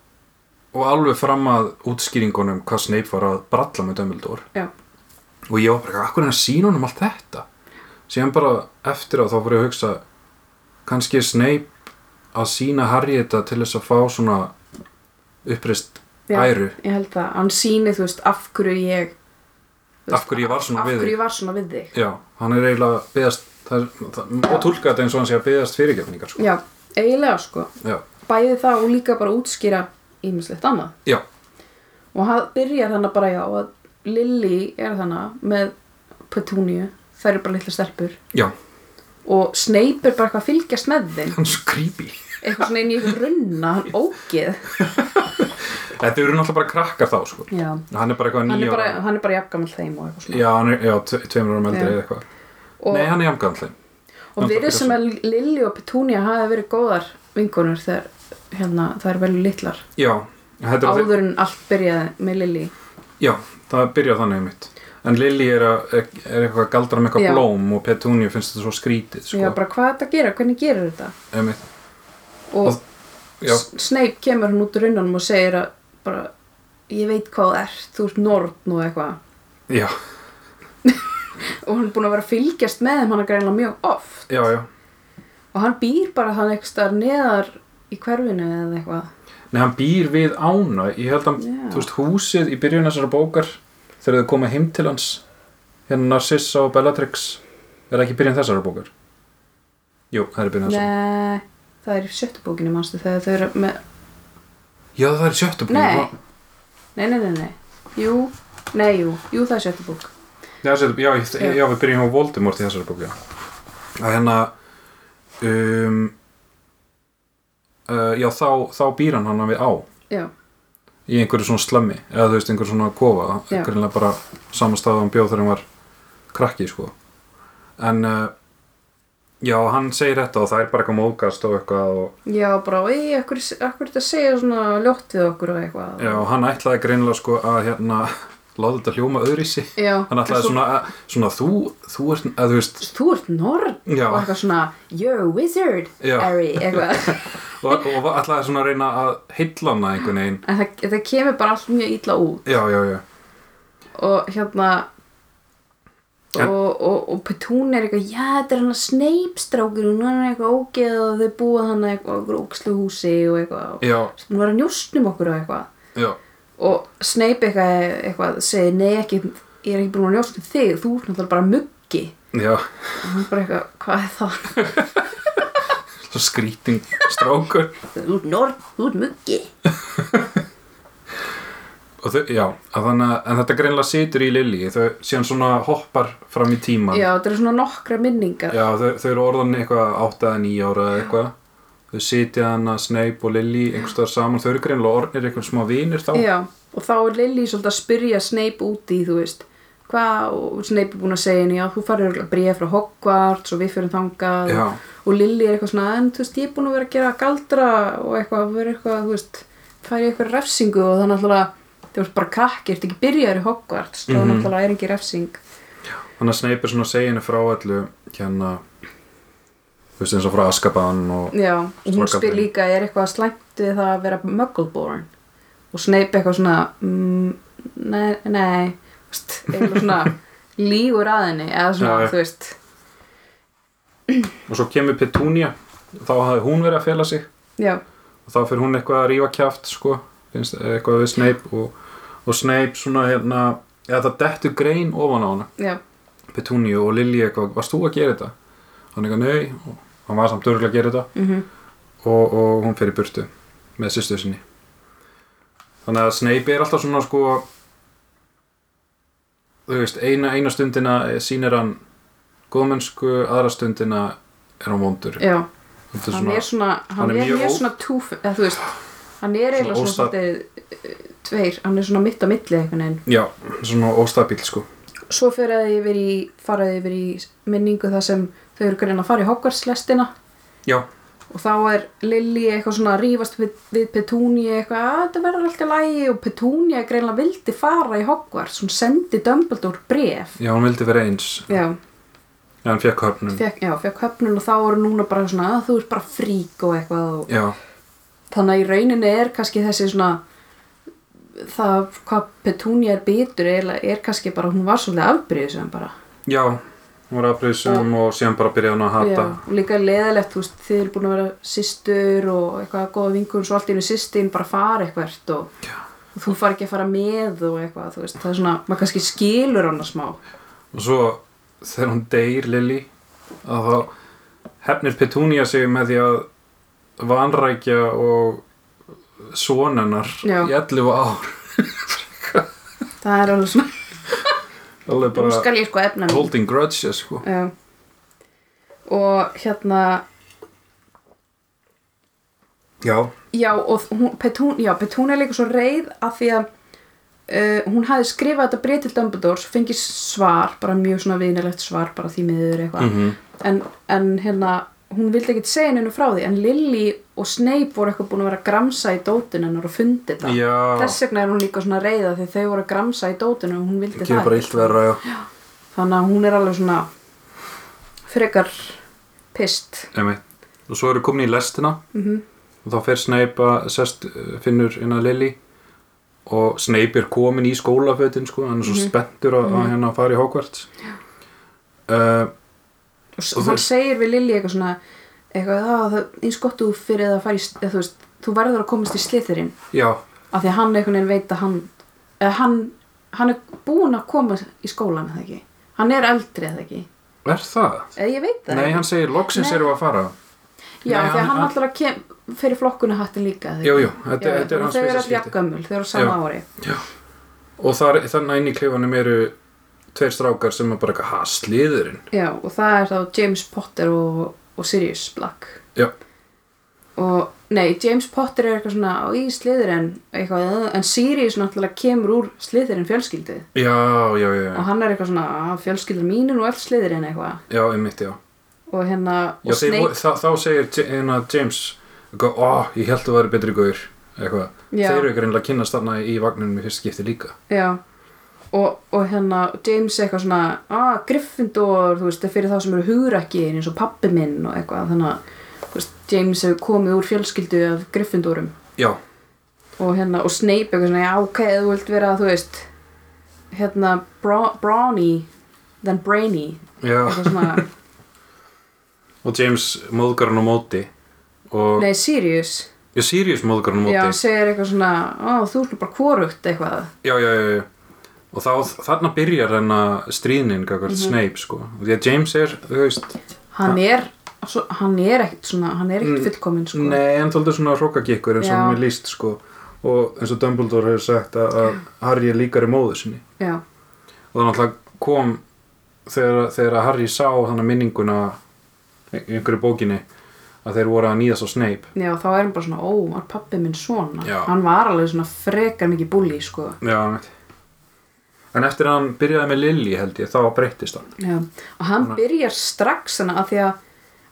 Speaker 2: og alveg fram að útskýringunum hvað Snape var að bralla með Dumbledore
Speaker 1: já,
Speaker 2: og ég var bara, akkur er hann að sína honum allt þetta síðan bara eftir að þá fór ég að hugsa kannski er Snape að sína Harry þetta til þess að fá svona uppreist
Speaker 1: Já.
Speaker 2: æru
Speaker 1: ég held það, hann sýni, þú veist, af hverju ég þú
Speaker 2: Af hverju ég var svona
Speaker 1: af
Speaker 2: við
Speaker 1: hverju
Speaker 2: þig.
Speaker 1: ég var svona við þig
Speaker 2: já, hann er eiginlega að byggast það, er- það, og tólka þetta eins og hann sé að byggast fyrirgefningar sko.
Speaker 1: já, eiginlega sko
Speaker 2: já,
Speaker 1: bæði það og líka bara útskýra ímislegt annað
Speaker 2: já,
Speaker 1: og hann byrjar þannig bara já að Lily er þannig með Petunia, þær eru bara litla stelpur
Speaker 2: já
Speaker 1: og Snape er bara eitthvað að fylgjast með þeim
Speaker 2: hann er svo creepy
Speaker 1: eitthvað svona inn í eitthvað runna, hann ógið
Speaker 2: þetta eru náttúrulega bara krakkar þá sko.
Speaker 1: já,
Speaker 2: hann er bara eitthvað
Speaker 1: hann er
Speaker 2: nýja
Speaker 1: bara, hann er bara jafngamall þeim og eitthvað svona
Speaker 2: já, hann er, já, tve- tveimur árum eldri
Speaker 1: Já.
Speaker 2: eða eitthvað
Speaker 1: og,
Speaker 2: nei, hann er jamgandlein
Speaker 1: og við erum sem að Lily og Petunia hafi verið góðar vinkonur þegar hérna, það er vel litlar
Speaker 2: já, þetta er
Speaker 1: áður en allt byrjaði með Lily
Speaker 2: Já, það byrjar þannig mitt En Lily er, að, er eitthvað að galdra með eitthvað
Speaker 1: Já.
Speaker 2: blóm og Petunia finnst þetta svo skrítið
Speaker 1: sko.
Speaker 2: sko.
Speaker 1: já, bara hvað er þetta að gera, hvernig gerir þetta
Speaker 2: Einmitt.
Speaker 1: og
Speaker 2: Og- Já,
Speaker 1: S- Snape kemur hann út úr runnanum og segir að bara, ég veit hvað það er, þú ert norn og eitthvað
Speaker 2: já,
Speaker 1: og hann er búin að vera að fylgjast með þeim hann er greinlega mjög oft
Speaker 2: já, já
Speaker 1: og hann býr bara þann eitthvað staðar neðar í hverfinu eða eitthvað
Speaker 2: Nei, hann býr við ána Ég held að,
Speaker 1: Já.
Speaker 2: þú veist, húsið í byrjun þessara bókar þegar þau koma heim til hans hérna Narcissa og Bellatrix er það ekki byrjun þessara bókar? Jú, það er byrjun þessara
Speaker 1: Nei, það er í sjöttu bókinu manstu þegar þau eru með
Speaker 2: Já, það er í sjöttu bók
Speaker 1: Nei, nei, nei, nei, nei Jú, nei, jú, jú það er sjöttu bók
Speaker 2: Já, sér, já, ég-
Speaker 1: Já.
Speaker 2: já, við byrjum á Voldemort í þessari bók, já. Að hérna, um, uh, já, þá, þá býr hann hann við á
Speaker 1: Já,
Speaker 2: í einhverju svona slemmi, eða þú veist, einhverju svona kofa,
Speaker 1: Já.
Speaker 2: einhverjulega bara samastaða hann bjóð þegar hann var krakki, sko. En, uh, já, hann segir þetta og það er bara eitthvað móðgast og eitthvað og,
Speaker 1: já, bara, ei, akkur, akkur þetta segja svona ljótt við okkur og eitthvað
Speaker 2: já, hann ætlaði greinilega, sko, að hérna, láta þetta hljóma öðru í sig.
Speaker 1: já
Speaker 2: Hann ætlaði
Speaker 1: svo-
Speaker 2: svona, að- svona, þú, þú ert, að þú veist,
Speaker 1: þú ert norn
Speaker 2: Já.
Speaker 1: og eitthvað svona you're a wizard,
Speaker 2: Já.
Speaker 1: Harry eitthvað.
Speaker 2: og, og var- ætlaði svona að reyna að heilla hana einhvern veginn
Speaker 1: en það, það kemur bara allt mjög illa út
Speaker 2: já, já, já,
Speaker 1: og hérna
Speaker 2: En-
Speaker 1: og, og, og Petunia er eitthvað já, þetta er hann að sneipstrákur og hann er eitthvað ógeð og þau búa hann eitthvað á einhverju ókslu húsi og eitthvað
Speaker 2: já,
Speaker 1: hún var að njóstnum okkur og eitthvað
Speaker 2: já
Speaker 1: og Snape eitthvað, eitthvað segir nei ekki, ég er ekki búin að njóstnum þig þú ert náttúrulega bara muggi
Speaker 2: já,
Speaker 1: og hann bara eitthvað, hvað er það?
Speaker 2: svo skríting strákur
Speaker 1: þú ert norn, þú ert muggi
Speaker 2: og þau, já, að þannig að en þetta greinlega situr í Lilli þau síðan svona hoppar fram í tíman
Speaker 1: já, þetta eru svona nokkra minningar
Speaker 2: já þau, þau eru orðan eitthvað átta eða nýja ára eða eitthvað þau sitja hann að Snape og Lilli einhverstaðar saman, þau eru greinlega orðnir einhvern smá vinir þá
Speaker 1: Já, og þá er Lily svolítið að spyrja Snape út í, þú veist, hvað, og Snape er búin að segja henni, já, þú farir örugglega bréf frá Hogwarts og við fyrir þangað
Speaker 2: Já.
Speaker 1: og Lily er eitthvað svona, en þú veist, ég er búin að vera að gera galdra og eitthvað, vera eitthvað, þú veist, fær ég eitthvað refsingu og þannig alltaf, þú veist, bara krakki, ertu ekki byrjaður í Hogwarts, þá
Speaker 2: Mhm.
Speaker 1: mm -hmm. er ekki refsing.
Speaker 2: þannig að Snape er svona að segja henni frá allu hérna þú veist eins og frá Azkaban og
Speaker 1: Já, og hún
Speaker 2: Strákarnir.
Speaker 1: spyr líka, er eitthvað slæmt við það að vera muggleborn? Og Snape eitthvað svona, mm, nei, nei, þú veist, eitthvað svona lígur að henni, eða svona,
Speaker 2: Já, já.
Speaker 1: þú veist,
Speaker 2: og svo kemur Petunia þá hafði hún verið að fela sig
Speaker 1: já,
Speaker 2: og þá fyrir hún eitthvað að rífa kjaft sko, finnst eitthvað við Snape og, og Snape svona hérna eða það dettur grein ofan á hana
Speaker 1: já,
Speaker 2: Petunia og Lily eitthvað, varst þú að gera þetta? hann eitthvað nei, og hann var samt örgulega að gera þetta
Speaker 1: mhm
Speaker 2: og, og hún fer í burtu með sýstu sinni þannig að Snape er alltaf svona sko þú veist, eina, eina stundina sýnir hann góðmennsku aðra stundina er hann vondur
Speaker 1: já,
Speaker 2: þetta er
Speaker 1: hann
Speaker 2: svona,
Speaker 1: er svona hann, er mjög,
Speaker 2: ó-
Speaker 1: svona túf eða þú veist, hann er
Speaker 2: Svona
Speaker 1: eiginlega svona
Speaker 2: ósta-
Speaker 1: svolítið eh, tveir, hann er svona mitt á milli einhvern veginn.
Speaker 2: já, svona óstabíl sko
Speaker 1: Svo fer að ég yfir í faraði yfir í minningu það sem þau eru greina að fara í Hogwarts-lestina
Speaker 2: já,
Speaker 1: og þá er Lilli eitthvað svona að rífast við, við Petúnia eitthvað að þetta verður alltaf lægi og Petúnia greinlega vildi fara í Hogwarts, hún sendi Dumbledore bref.
Speaker 2: já, hann vildi vera eins
Speaker 1: Já,
Speaker 2: já, hann fekk höfnum
Speaker 1: fekk, já, fekk höfnun og þá eru núna bara svona að þú ert bara frík og eitthvað og
Speaker 2: já,
Speaker 1: þannig að í rauninni er kannski þessi svona það hvað Petunia er bitur er, er kannski bara, hún var svolítið afbyrðið sem bara
Speaker 2: já, hún var aðbreyðsum og síðan bara byrjaði hann að
Speaker 1: Já,
Speaker 2: hata
Speaker 1: og líka leðalegt, þú veist, þið eru búin að vera systur og eitthvað góða vingur svo allt í einu systin bara fara eitthvert og,
Speaker 2: Já.
Speaker 1: og þú far ekki að fara með og eitthvað, þú veist, það er svona, maður kannski skilur hana smá,
Speaker 2: og svo þegar hún deyr Lily að þá hefnir Petunia sig með því að vanrækja og sonennar
Speaker 1: Já.
Speaker 2: í 11 ár
Speaker 1: það er alveg svona
Speaker 2: alveg
Speaker 1: nú
Speaker 2: bara
Speaker 1: skal ég sko efna mig.
Speaker 2: holding grudges sko.
Speaker 1: Já. og hérna
Speaker 2: já,
Speaker 1: Já, og hún, Petún, já, Petún er líka svo reið af því að uh, hún hafi skrifað þetta breið til Dumbledore svo fengið svar, bara mjög svona vinilegt svar bara því miður eitthvað
Speaker 2: Mhm.
Speaker 1: en, en hérna, hún vildi ekkit segja hennu frá því en Lily og Snape voru eitthvað búin að vera að gramsa í dótinu hennar og fundi þetta
Speaker 2: já
Speaker 1: þess vegna er hún líka svona reiða því þau voru að gramsa í dótinu og hún vildi
Speaker 2: það gerir bara illt verra já.
Speaker 1: þannig að hún er alveg svona frekar pist
Speaker 2: Einmitt. og svo eru komin í lestina
Speaker 1: Mhm.
Speaker 2: og þá fer Snape að sest, eh, finnur inn að Lily og Snape er komin í skólafötin sko, hann er svo
Speaker 1: Mhm.
Speaker 2: spenntur að, að hérna fara í Hogwarts uh,
Speaker 1: og s-
Speaker 2: Og
Speaker 1: hann
Speaker 2: þeir-
Speaker 1: segir við Lilli eitthvað svona eitthvað að það eins gott þú fyrir að fara í eða, þú veist, þú verður að komast í slithirinn
Speaker 2: já,
Speaker 1: af því að hann einhvern veginn veit að hann eða hann, hann er búinn að koma í skólan eða ekki, hann er eldri eða ekki,
Speaker 2: er það?
Speaker 1: eða ég veit það
Speaker 2: Nei,
Speaker 1: ekki.
Speaker 2: hann segir loksins
Speaker 1: Nei.
Speaker 2: erum við að fara
Speaker 1: já,
Speaker 2: nei,
Speaker 1: af því
Speaker 2: hann-
Speaker 1: að hann
Speaker 2: hann-
Speaker 1: alltaf kem, fyrir flokkuna hattin líka eða ekki?
Speaker 2: Jú, jú, þetta,
Speaker 1: Já,
Speaker 2: þetta er
Speaker 1: og
Speaker 2: hans
Speaker 1: þau eru
Speaker 2: fyrsta
Speaker 1: alltaf
Speaker 2: skipti
Speaker 1: jafngömmul, þau eru á sama
Speaker 2: Já.
Speaker 1: ári
Speaker 2: Og þar, þannig inn í klifanum eru tveir strákar sem er bara eitthvað ha, sliðurinn
Speaker 1: já, og það er þá James Potter og, og Sirius Black
Speaker 2: Já,
Speaker 1: og nei, James Potter er eitthvað svona á í sliðurinn eitthvað, en Sirius náttúrulega kemur úr sliðurinn fjölskyldið
Speaker 2: já, já, já,
Speaker 1: og
Speaker 2: já,
Speaker 1: hann er eitthvað svona "Ah, að fjölskyldur mínir og allt sliðurinn eitthvað
Speaker 2: já einmitt, já,
Speaker 1: og hérna,
Speaker 2: já
Speaker 1: og
Speaker 2: þeir,
Speaker 1: Snape
Speaker 2: voru- þá, þá segir Ja- hérna, James eitthvað, ó, ég held að vera betri guður eitthvað,
Speaker 1: Já.
Speaker 2: þeir eru eitthvað reynilega að kynnast þarna í vagninum í fyrst skipti líka
Speaker 1: já, og, og hérna James eitthvað svona, að Gryffindor þú veist, það er fyrir þá sem eru hugrakkiðin eins og pappi minn og eitthvað þannig að þú veist, James hefur komið úr fjölskyldu af Gryffindorum
Speaker 2: Já,
Speaker 1: og hérna, og Snape eitthvað svona, já ok, ef þú vilt vera, þú veist hérna, bra brawny than brainy
Speaker 2: já,
Speaker 1: eitthvað svona,
Speaker 2: og James móðgar hann á móti og,
Speaker 1: nei, Sirius
Speaker 2: já, Sirius móðgar
Speaker 1: já,
Speaker 2: hann á móti
Speaker 1: hann segir eitthvað svona, ó, þú ert nú bara korugt eitthvað
Speaker 2: já, já, já, já. og þá, þarna byrjar hennar stríðnin mm
Speaker 1: Mhm.
Speaker 2: Snape sko, og því að James er þú veist,
Speaker 1: hann er svo, hann er ekkert svona, hann er
Speaker 2: Mm,
Speaker 1: ekkert fullkominn sko.
Speaker 2: nei, en þóldu svona hrokkagikkur eins og
Speaker 1: Já.
Speaker 2: hann er líst sko og eins og Dumbledore hefur sagt að, að Harry er líkari móðu sinni
Speaker 1: já,
Speaker 2: og þannig að kom þegar, þegar að Harry sá þannig minninguna í í einhverju bókinni að þeir voru að nýðast á Snape
Speaker 1: já, þá er hann bara svona, ó, var pappi minn svona
Speaker 2: Já.
Speaker 1: hann var alveg svona frekar mikið búli sko.
Speaker 2: já, veit en eftir að hann byrjaði með Lily held ég, þá breyttist hann
Speaker 1: já. og hann byrjar strax þannig að því að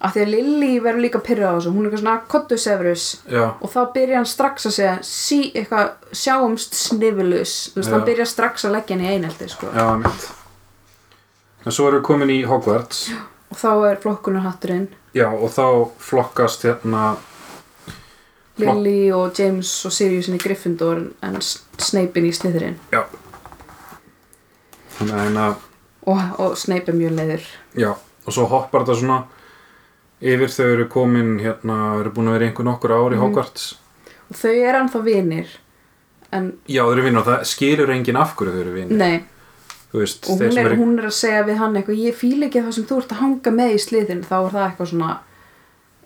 Speaker 1: að því að Lily verður líka pyrrað á þessu hún er eitthvað svona kottu severus
Speaker 2: já,
Speaker 1: og þá byrjar hann strax að segja sí, eitthvað, sjáumst snifilus þú veist,
Speaker 2: Já.
Speaker 1: hann byrjar strax að leggja hann í einelti sko.
Speaker 2: já, veit en svo erum við komin í Hogwarts já.
Speaker 1: og þá er flokkunarhatturinn
Speaker 2: og þá flokkast hérna Flokk-
Speaker 1: Lily og James og Sirius inn í Gryffindor en Snape inn í Slytherin
Speaker 2: já þannig að
Speaker 1: og, og Snape er mjög leiður
Speaker 2: hérna, Já, og svo hoppar
Speaker 1: Mhm.
Speaker 2: þetta svona yfir þau eru komin hérna, eru búin að vera í einhver nokkur ár í Hogwarts
Speaker 1: og þau eru ennþá vinir en
Speaker 2: Já, þau eru vinir og það skilur enginn af hverju þau eru vinir
Speaker 1: nei,
Speaker 2: Þú veist,
Speaker 1: Mm. og
Speaker 2: þeir
Speaker 1: hún
Speaker 2: sem
Speaker 1: er,
Speaker 2: eru
Speaker 1: hún er að segja við hann eitthvað, ég fíla ekki það sem þú ert að hanga með í sliðin, þá er það eitthvað svona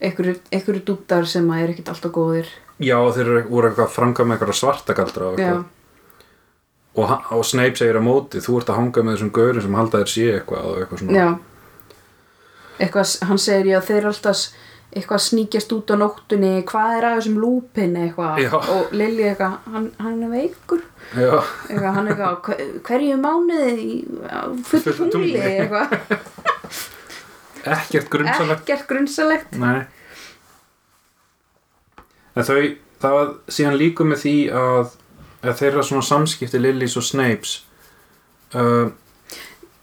Speaker 1: einhverju dúptar sem að er ekkert alltaf góðir
Speaker 2: Já, þeir eru, voru eitthvað franga með eitthvað svartagaldra
Speaker 1: já,
Speaker 2: og, eitthvað. og, hann- og Snape segir á móti þú ert að hanga með þessum gaurum sem halda þér sé eitthvað og eitthvað svona
Speaker 1: já eitthvað, s- hann segir já, þeir eru alltaf s- eitthvað að sníkjast út á nóttunni hvað er að þessum lúpinni eitthvað
Speaker 2: Já.
Speaker 1: og Lilli eitthvað, hann, hann er veikur
Speaker 2: Já,
Speaker 1: eitthvað, hann eitthvað, á hver- hverju mánuði í- á fullu
Speaker 2: Fullu tungli.
Speaker 1: tungli eitthvað,
Speaker 2: ekkert grunsamlegt
Speaker 1: ekkert grunnsalegt
Speaker 2: Nei En þau, það síðan líka með því að, að þeirra svona samskipti Lillys og Snapes uh,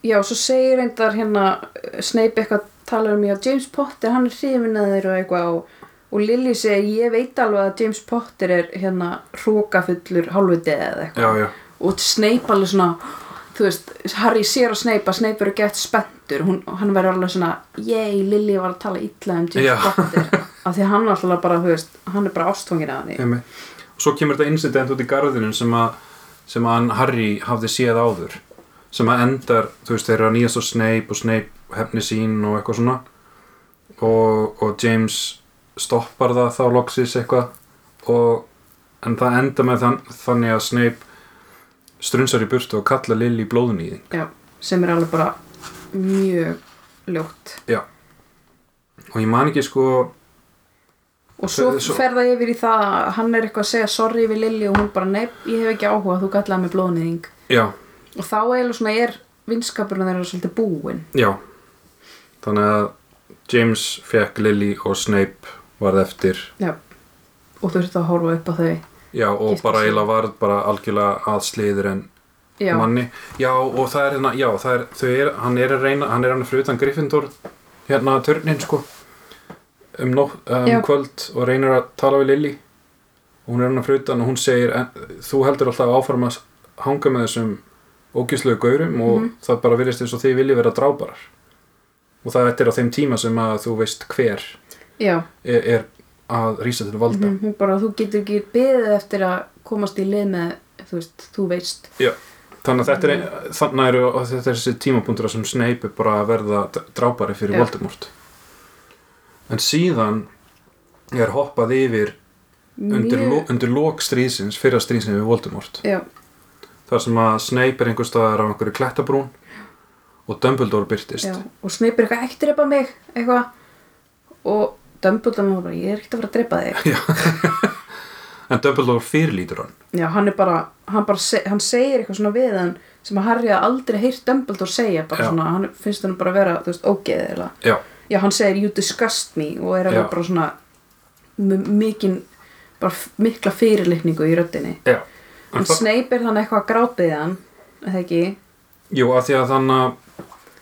Speaker 1: já, svo segir reyndar hérna eh, Snape eitthvað talar um já, James Potter, hann er hrifin að þeir og eitthvað og, og Lily segir, ég veit alveg að James Potter er hérna hrókafullur hálfutið eða
Speaker 2: Já,
Speaker 1: eitthvað
Speaker 2: já,
Speaker 1: og Snape alveg svona þú veist, Harry sér að Snape að Snape eru gett spenntur, hún, hann verður alveg svona yey, Lily var að tala illa um James
Speaker 2: Já.
Speaker 1: Potter, af því að hann alltaf bara, þú veist, hann er bara ástfangin að hann
Speaker 2: emi Og svo kemur þetta incident út í garðinum sem að sem að hann Harry hafði séð áður sem að endar, þú veist, þeirra nýjast og Snape og Snape hefni sín og eitthvað svona og, og James stoppar það þá loksis eitthvað og en það endar með þann, þannig að Snape strunsar í burtu og kallar Lily blóðnýðing
Speaker 1: já, sem er alveg bara mjög ljótt
Speaker 2: og ég man ekki sko
Speaker 1: og svo
Speaker 2: Svo-
Speaker 1: fer það yfir í það að hann er eitthvað að segja sorry við Lilli og hún bara nei, ég hef ekki áhuga, þú kallaði mig blóðniðing
Speaker 2: já,
Speaker 1: og þá eiginlega svona er vinskapurinn þeirra svolítið búinn
Speaker 2: já þannig að James fekk Lily og Snape varð eftir
Speaker 1: já. og þurfti að horfa upp á þau
Speaker 2: já og
Speaker 1: Giftu
Speaker 2: bara
Speaker 1: sig.
Speaker 2: eiginlega varð bara algjörlega að sliður en
Speaker 1: já,
Speaker 2: manni já og það er hérna, já það er þau er, hann er að reyna, hann er hann fyrir utan Gryffindor hérna törnin sko um, nótt, um
Speaker 1: Já.
Speaker 2: kvöld og reynir að tala við Lily og hún er hann fyrir utan og hún segir en, þú heldur alltaf áfram að hanga með þessum ógjuslegu gaurum og
Speaker 1: Mhm.
Speaker 2: það bara virðist eins og þið viljið vera drábarar og það þetta er á þeim tíma sem að þú veist hver
Speaker 1: já.
Speaker 2: er, er að rísa til valda
Speaker 1: Mhm, hún bara, þú getur ekki beðið eftir að komast í lið með, þú veist, þú veist
Speaker 2: þannig að þetta er, þannig eru og þetta er þessi tímapunktur þar sem Snape er bara að verða d- drápari fyrir
Speaker 1: Já.
Speaker 2: Voldemort en síðan er hoppað yfir undir, lo, undir lok stríðsins, fyrra stríðsins við Voldemort
Speaker 1: já,
Speaker 2: þar sem að Snape er einhver staðar á einhverju klettabrún og Dumbledore byrtist
Speaker 1: já, og Snape er eitthvað ektir epa mig, eitthvað og Dumbledore er bara, ég er ekkert að fara að drepa þig
Speaker 2: en Dumbledore fyrirlítur hann
Speaker 1: Já, hann er bara, hann bara, se- hann segir eitthvað svona við hann sem að Harry hafði aldrei heyrt Dumbledore segja, bara
Speaker 2: Já.
Speaker 1: svona, hann finnst hann bara vera, þú veist, ógeðið eða.
Speaker 2: já,
Speaker 1: Já, hann segir you disgust me og er
Speaker 2: Já.
Speaker 1: alveg bara svona m- mikinn, bara f- mikla fyrirlikningu í röddinni.
Speaker 2: já
Speaker 1: En
Speaker 2: það-
Speaker 1: Snape er þannig eitthvað að grátið hann, eða ekki?
Speaker 2: jú, að því að þannig að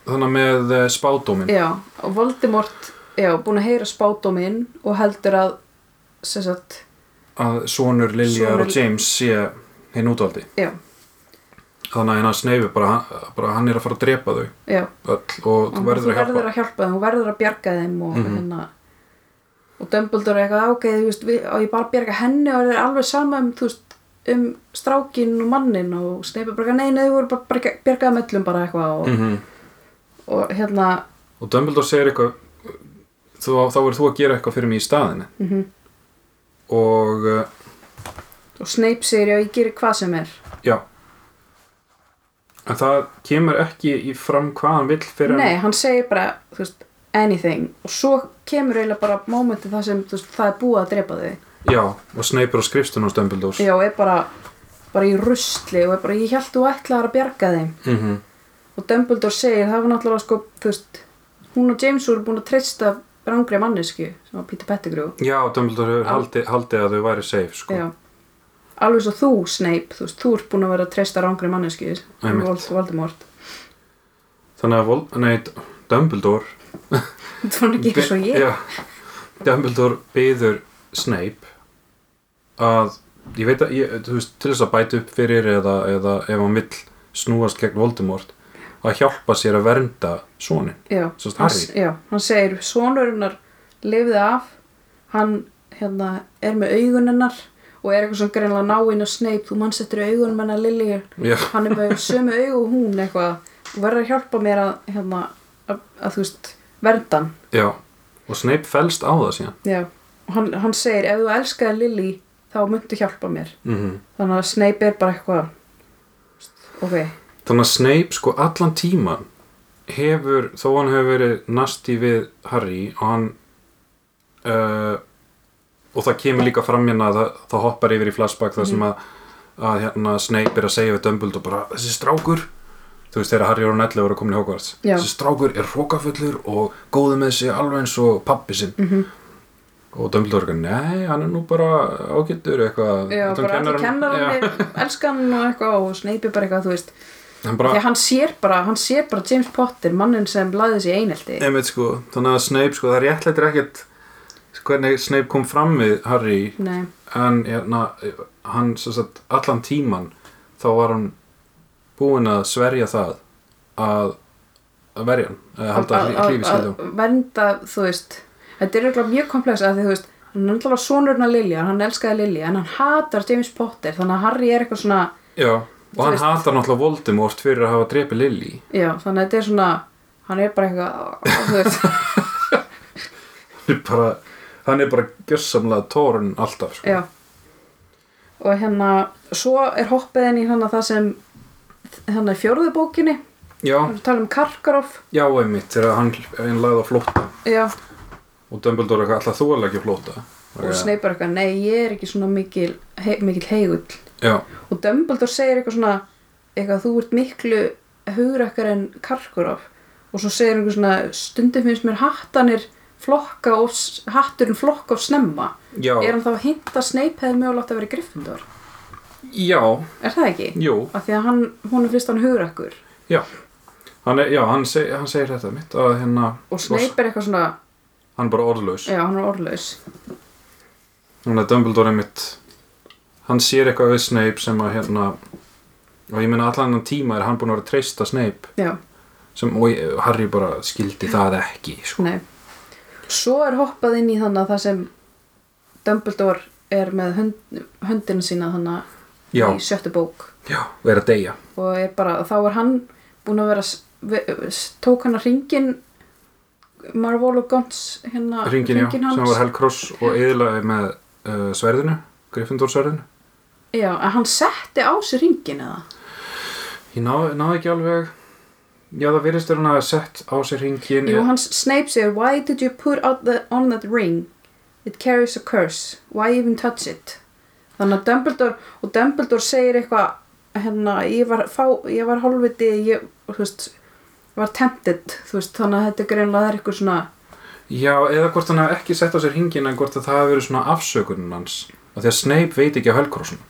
Speaker 2: þannig að með eh, spádóminn
Speaker 1: Já, og Voldemort, já, búin að heyra spátuminn og heldur að, sem sagt,
Speaker 2: að sonur Liljar
Speaker 1: Sonur-
Speaker 2: og James sé hinn útvaldi
Speaker 1: já,
Speaker 2: þannig að hérna sneifi bara, bara hann er að fara að drepa þau
Speaker 1: já,
Speaker 2: öll og þú
Speaker 1: Hún-
Speaker 2: verður að hjálpa
Speaker 1: þeim, hún Mhm, verður að bjarga þeim og
Speaker 2: Mhm.
Speaker 1: hérna og Dumbledore er eitthvað ok, þú veist, við, og ég bara bjarga henni og það er alveg sama um, þú veist, um strákin og mannin og Snape er bara eitthvað, nei, nei, þú verður bara að bjarga- bjarga þeim öllum bara eitthvað og,
Speaker 2: mm -hmm.
Speaker 1: og hérna
Speaker 2: og Dumbledore segir eitthvað þú, þá verður þú að gera eitthvað fyrir mig í staðinni
Speaker 1: mm
Speaker 2: og uh,
Speaker 1: og Snape segir, já, ég gerir hvað sem er
Speaker 2: já en það kemur ekki í fram hvað hann vill fyrir
Speaker 1: nei, hann segir bara, þú veist, anything og svo kemur eiginlega bara mómenti það sem, þú veist, það er búið að drepa þau
Speaker 2: já, og sneipi á skrifstun hos Dumbledore
Speaker 1: já, og er bara, bara í rusli og er bara, ég held þú ætlaðar að bjarga þeim
Speaker 2: mm -hmm.
Speaker 1: og Dumbledore segir það var náttúrulega sko, þú veist hún og James voru búin að treysta rangri mannesku sem var Peter Pettigrew
Speaker 2: já, Dumbledore hefur
Speaker 1: Al-
Speaker 2: haldi, haldið að þau væri safe sko.
Speaker 1: já alveg svo þú Snape, þú veist, þú ert búin að vera að treysta rangri mannesku sem
Speaker 2: Einmitt.
Speaker 1: Vold- Voldemort
Speaker 2: þannig að Vol- nei, D- Dumbledore
Speaker 1: þú fann ekki eins og ég
Speaker 2: Já, Dumbledore byður Snape að ég veit að, ég, þú veist, til þess að bæta upp fyrir eða, eða ef hann vill snúast gegn Voldemort að hjálpa sér að vernda sonin
Speaker 1: já,
Speaker 2: Svo sagt,
Speaker 1: hann,
Speaker 2: Harry.
Speaker 1: já, hann segir sonurinnar lifði af hann hérna er með augunennar og er eitthvað svona greinlega náinn og Snape þú manns eftir augunum hennar Lilju
Speaker 2: Já,
Speaker 1: hann er með sömu augu og hún eitthvað þú verður að hjálpa mér að hérna, að, að þú veist, verndan
Speaker 2: já. Og Snape fælst á það síðan.
Speaker 1: já, og hann, hann segir ef þú elskaði Lily þá myndu hjálpa mér
Speaker 2: Mm
Speaker 1: þannig að Snape er bara eitthvað þú veist,
Speaker 2: Þannig að Snape sko allan tíman hefur, þó hann hefur verið nasti við Harry og hann uh, og það kemur líka fram hérna að það, það hoppar yfir í flashback þar
Speaker 1: Mhm.
Speaker 2: sem að, að hérna, Snape er að segja við Dumbledore bara þessi strákur þú veist þegar Harry og Ron 11 voru komin í Hogwarts
Speaker 1: Já.
Speaker 2: þessi strákur er hrókafullur og góðu með sig alveg eins og pappi sinn mm
Speaker 1: Mhm.
Speaker 2: -hmm. og Dumbledore er eitthvað, nei, hann er nú bara ágættur eitthvað
Speaker 1: ok já,
Speaker 2: Þetta um
Speaker 1: bara allir
Speaker 2: kennarann- Já.
Speaker 1: kennarann elskan og eitthvað og Snape er bara eitthvað þú veist,
Speaker 2: Hann
Speaker 1: því
Speaker 2: bara,
Speaker 1: að hann sér bara hann sér bara James Potter, mannin sem laði þessi einelti
Speaker 2: einmitt sko, þannig að Snape sko, það réttlættir ekkert sko, hvernig Snape kom fram við Harry
Speaker 1: nei,
Speaker 2: en hérna, hann sem sagt, allan tíman þá var hann búinn að sverja það að, að verja hann, að halda
Speaker 1: Að- að-
Speaker 2: hlífi skildum
Speaker 1: að vernda, þú veist þetta er eitthvað mjög komplex að því, þú veist hann er alltaf sonurinn að Lilja, hann elskaði Lilja en hann hatar James Potter, þannig að Harry er eitthvað svona,
Speaker 2: Já, og hann
Speaker 1: veist-
Speaker 2: hatar náttúrulega Voldemort fyrir að hafa drepið Lily
Speaker 1: já, þannig að þetta er svona hann er bara eitthvað, þú veist
Speaker 2: Hann er bara, hann er bara gjössamlega tórun alltaf sko.
Speaker 1: já og hérna, svo er hoppið inn í hann að það sem hann er fjórðu bókinni,
Speaker 2: já,
Speaker 1: hann tala um Karkaroff
Speaker 2: já, einmitt, þegar hann, hann lagði á flótta
Speaker 1: já,
Speaker 2: og Dumbledore er eitthvað alltaf þú er ekki á flótta
Speaker 1: og Snape er eitthvað, nei, ég er ekki svona mikil, he, mikil heigull
Speaker 2: Já,
Speaker 1: og Dumbledore segir eitthvað svona eitthvað þú ert miklu hugrakkar en Karkaroff og svo segir einhver svona stundum finnst mér hattanir flokka og hatturinn flokka og snemma
Speaker 2: já,
Speaker 1: er hann þá að hinta að Snape hefði mögulegt að vera Gryffindor
Speaker 2: já
Speaker 1: er það ekki?
Speaker 2: Jú,
Speaker 1: af því að hann, hún er fyrst hann hugrakkur
Speaker 2: já Hann, er, já, hann, seg, hann segir þetta mitt að hérna
Speaker 1: og Snape er eitthvað svona,
Speaker 2: Hann er bara orðlaus
Speaker 1: já hann er orðlaus
Speaker 2: Þannig að Dumbledore er mitt Hann sér eitthvað við Snape sem að hérna Og ég meina allan hann tíma er hann búinn að vera að treysta Snape
Speaker 1: já,
Speaker 2: sem, Og ég- Harry bara skildi það ekki sko.
Speaker 1: nei svo er hoppað inn í þannig að það sem Dumbledore er með hönd, höndina sína þannig
Speaker 2: Já.
Speaker 1: í sjöttu bók
Speaker 2: Já, og er að deyja
Speaker 1: og er bara, þá er hann búin að vera, s- ve- s- tók hann að ringin Marvolo Gons hérna,
Speaker 2: Ringin, já,
Speaker 1: hringinn
Speaker 2: sem var Helcross og eðlaði með uh, sverðinu Gryffindor sverðinu
Speaker 1: já, að hann setti á sig ringin eða
Speaker 2: Ég náði, náði ekki alveg Já, það virðist verið hann að sett á sér hringin
Speaker 1: jú, hans Snape segir why did you put out the, on that ring it carries a curse, why even touch it þannig að Dumbledore og Dumbledore segir eitthvað hérna, ég var, fá, ég var hálfviti ég, þú veist var tempted, þú veist, þannig að þetta er greinlega það er eitthvað svona,
Speaker 2: Já, eða hvort hann hafi ekki sett á sér hringin en hvort að það hafi verið svona afsökunin hans og því að Snape veit ekki af Helgrossun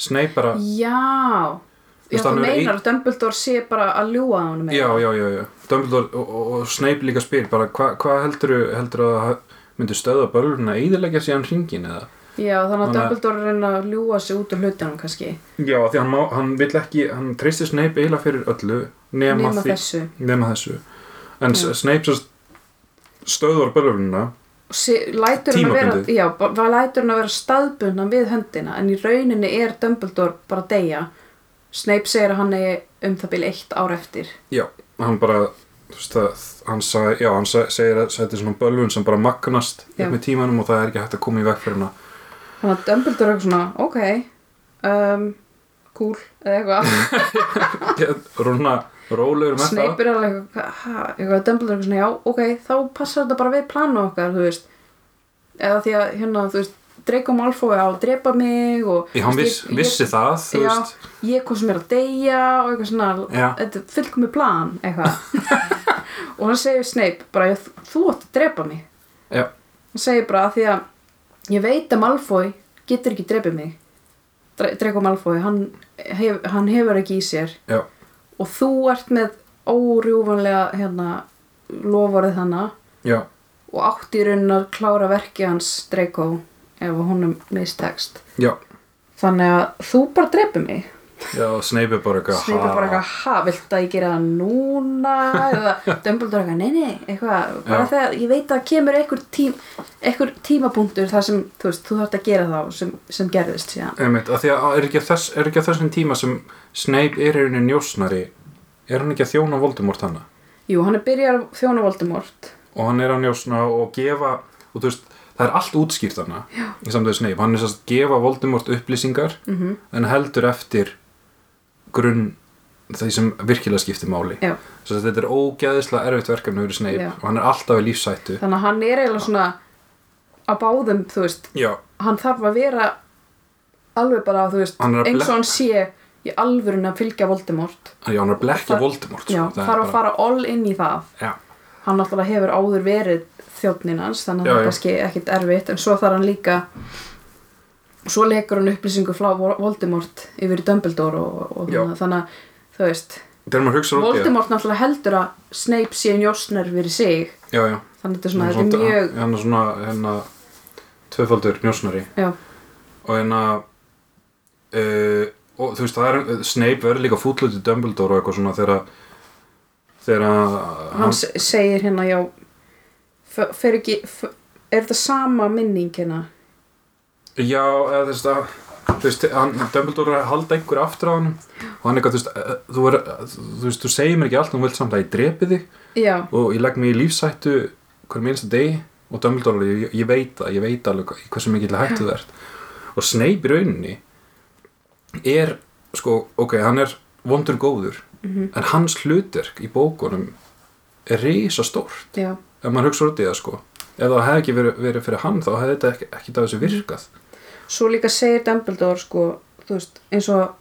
Speaker 2: Snape bara,
Speaker 1: já
Speaker 2: veist,
Speaker 1: Já, þú
Speaker 2: hann hefur
Speaker 1: meinar að Dumbledore sé bara að ljúga að honum
Speaker 2: já, já, já, já Dumbledore og, og, og Snape líka spyr bara hvað hva heldur, heldur að ha- myndi stöða börlun að eyðileggja sig hann hringin eða?
Speaker 1: Já, þannig
Speaker 2: Þannig
Speaker 1: að
Speaker 2: að-
Speaker 1: Dumbledore er að reyna að ljúga sig út úr hlutunum kannski
Speaker 2: Já, af því hann, má, hann vill ekki, hann treystir Snape eiginlega fyrir öllu nema,
Speaker 1: nema
Speaker 2: því,
Speaker 1: þessu
Speaker 2: nema þessu en
Speaker 1: Já.
Speaker 2: já. Snape sem sagt stöðvar börlunina
Speaker 1: og sé, lætur hann að vera,
Speaker 2: Tímabundið.
Speaker 1: já, bara- bara lætur hann að vera staðbundan við höndina en í rauninni er Dumbledore bara að deyja Snape segir að hann er um það byrja eitt ár eftir
Speaker 2: Já, hann bara þú veist það, hann, sag, já, hann sag, segir að þetta er svona bölvun sem bara magnast
Speaker 1: Já.
Speaker 2: upp með tímanum og það er ekki hægt að koma í veg fyrir hana
Speaker 1: þannig að Dumbledore er eitthvað svona, ok um, cool, eða eitthvað
Speaker 2: Ég- Rúna rólegur með
Speaker 1: Snape er alveg eitthvað, ha, eitthvað Dumbledore er eitthvað svona, já, ok, þá passar þetta bara við planu okkar, þú veist eða því að, hérna, þú veist Draco Malfoy á að drepa mig og
Speaker 2: það Já, hann viss,
Speaker 1: Ég- ég-
Speaker 2: vissi það, þú
Speaker 1: já,
Speaker 2: veist
Speaker 1: ég kom sem er að deyja og eitthvað svona,
Speaker 2: Já.
Speaker 1: þetta er fullkomi plan eitthvað og hann segir Snape bara, "Ég- þú átt að drepa mig
Speaker 2: Já,
Speaker 1: hann segir bara að því að ég veit að Malfoy getur ekki drepið mig Dre- Draco Malfoy, hann, hef, hann hefur ekki í sér
Speaker 2: já,
Speaker 1: og þú ert með órjúfanlega hérna, loforið hana
Speaker 2: já,
Speaker 1: og átt í raunin að klára verki hans Draco ef honum mistekst
Speaker 2: já
Speaker 1: þannig að þú bara drepið mig
Speaker 2: já, Snape er bara eitthvað
Speaker 1: Snape er bara
Speaker 2: ha.
Speaker 1: eitthvað, ha, viltu að ég gera það núna eða Dumbledore eitthvað, nei, nei, eitthvað bara
Speaker 2: Já.
Speaker 1: þegar, ég veit að það kemur einhver, tím, einhver tímapunktur þar sem þú veist, þú þarft að gera þá sem, sem gerðist síðan
Speaker 2: Einmitt, að því að er ekki, að þess, er ekki að þessum tíma sem Snape er í rauninni njósnari er hann ekki að þjóna Voldemort hana
Speaker 1: Jú, hann er byrjar að þjóna Voldemort
Speaker 2: og hann er að njósna og gefa og þú veist, það er allt útskýrt hana í samtöðu Snape, hann er að gefa Voldemort upplýsingar
Speaker 1: Mhm.
Speaker 2: en heldur eftir grunn því sem virkilega skiptir máli
Speaker 1: Já.
Speaker 2: svo þetta er ógæðislega erfitt verkefni fyrir Snape
Speaker 1: Já.
Speaker 2: og hann er alltaf í lífsættu
Speaker 1: þannig að hann er eiginlega svona að báðum, þú veist,
Speaker 2: Já,
Speaker 1: hann þarf að vera alveg bara, þú veist,
Speaker 2: Hann er að
Speaker 1: eins
Speaker 2: blek-
Speaker 1: og hann sé í alvörun að fylgja Voldemort
Speaker 2: já, hann er að blekja
Speaker 1: Það-
Speaker 2: Voldemort sko.
Speaker 1: Já,
Speaker 2: Það er
Speaker 1: þarf að
Speaker 2: bara-
Speaker 1: fara all inn í það
Speaker 2: Já,
Speaker 1: hann náttúrulega hefur áður verið þjófnin hans þannig
Speaker 2: Já,
Speaker 1: að það er
Speaker 2: já.
Speaker 1: kannski ekkit erfitt en svo þarf hann líka svo leikur hann upplýsingu frá Vol- Voldemort yfir í Dumbledore og, og
Speaker 2: Já.
Speaker 1: þannig, þannig að þú veist
Speaker 2: þegar maður hugsa út í það
Speaker 1: Voldemort náttúrulega heldur að Snape sé njósnar fyrir sig
Speaker 2: Já, já
Speaker 1: þannig að þetta er svona,
Speaker 2: Hann
Speaker 1: þetta er mjög
Speaker 2: hann- hann er svona hérna, tvöfaldur njósnari
Speaker 1: já,
Speaker 2: og hérna uh, og þú veist það er Snape verður líka fútlut í Dumbledore og eitthvað svona þegar þegar
Speaker 1: hann s- segir hérna já, f- fer ekki f- er þetta sama minning hérna
Speaker 2: já, eða, þú veist að þú veist, hann, Dumbledore er að halda einhver aftur á hann og hann eitthvað, þú veist eh, þú, er, þú veist, þú segir mér ekki allt en þú vilt samt að ég drepi þig
Speaker 1: já,
Speaker 2: og ég legg mig í lífsættu hverjum einasta degi og Dumbledore, ég, ég veit það, ég veit alveg hvað- í hversu mikil hættu þú ert og Snape í rauninni er, sko, ok, hann er vondur góður, en hans hlutverk í bókunum er risa stórt,
Speaker 1: já,
Speaker 2: ef maður hugsa út í það, sko ef það hefði ekki verið, verið fyrir hann þá hefði þetta ekki, ekki það þessu virkað
Speaker 1: svo líka segir Dumbledore sko, þú veist, eins og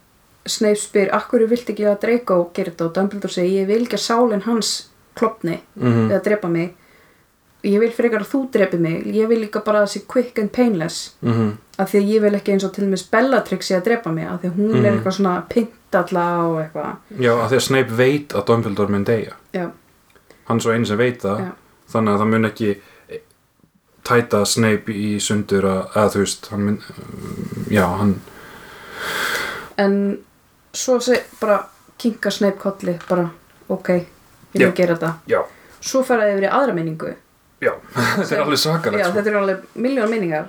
Speaker 1: Snape spyr, akkur viltu ekki að Draco gera þetta og Dumbledore segir, ég vil ekki að sálinn hans klopni
Speaker 2: mm
Speaker 1: eða drepa mig ég vil frekar að þú drepi mig ég vil líka bara að það sé quick and painless
Speaker 2: -hmm.
Speaker 1: af því að ég vil ekki eins og til og með Bellatrix sé að drepa mig, af því að hún er
Speaker 2: Mhm.
Speaker 1: eitthvað svona pintalla og eitthvað
Speaker 2: já, af því að Snape veit að Dumbledore mun deyja
Speaker 1: já,
Speaker 2: hann er svo einu sem veit það
Speaker 1: Já.
Speaker 2: þannig að það mun ekki tæta Snape í sundur að, að þú veist hann mun, já, hann
Speaker 1: en svo seg, bara kinka Snape kolli, bara ok ég vil
Speaker 2: Já.
Speaker 1: gera þetta,
Speaker 2: já,
Speaker 1: svo fer það yfir í aðra minningu
Speaker 2: já, þetta er
Speaker 1: Sem-
Speaker 2: alveg
Speaker 1: Já,
Speaker 2: sakalegt sko.
Speaker 1: þetta eru alveg miljón minningar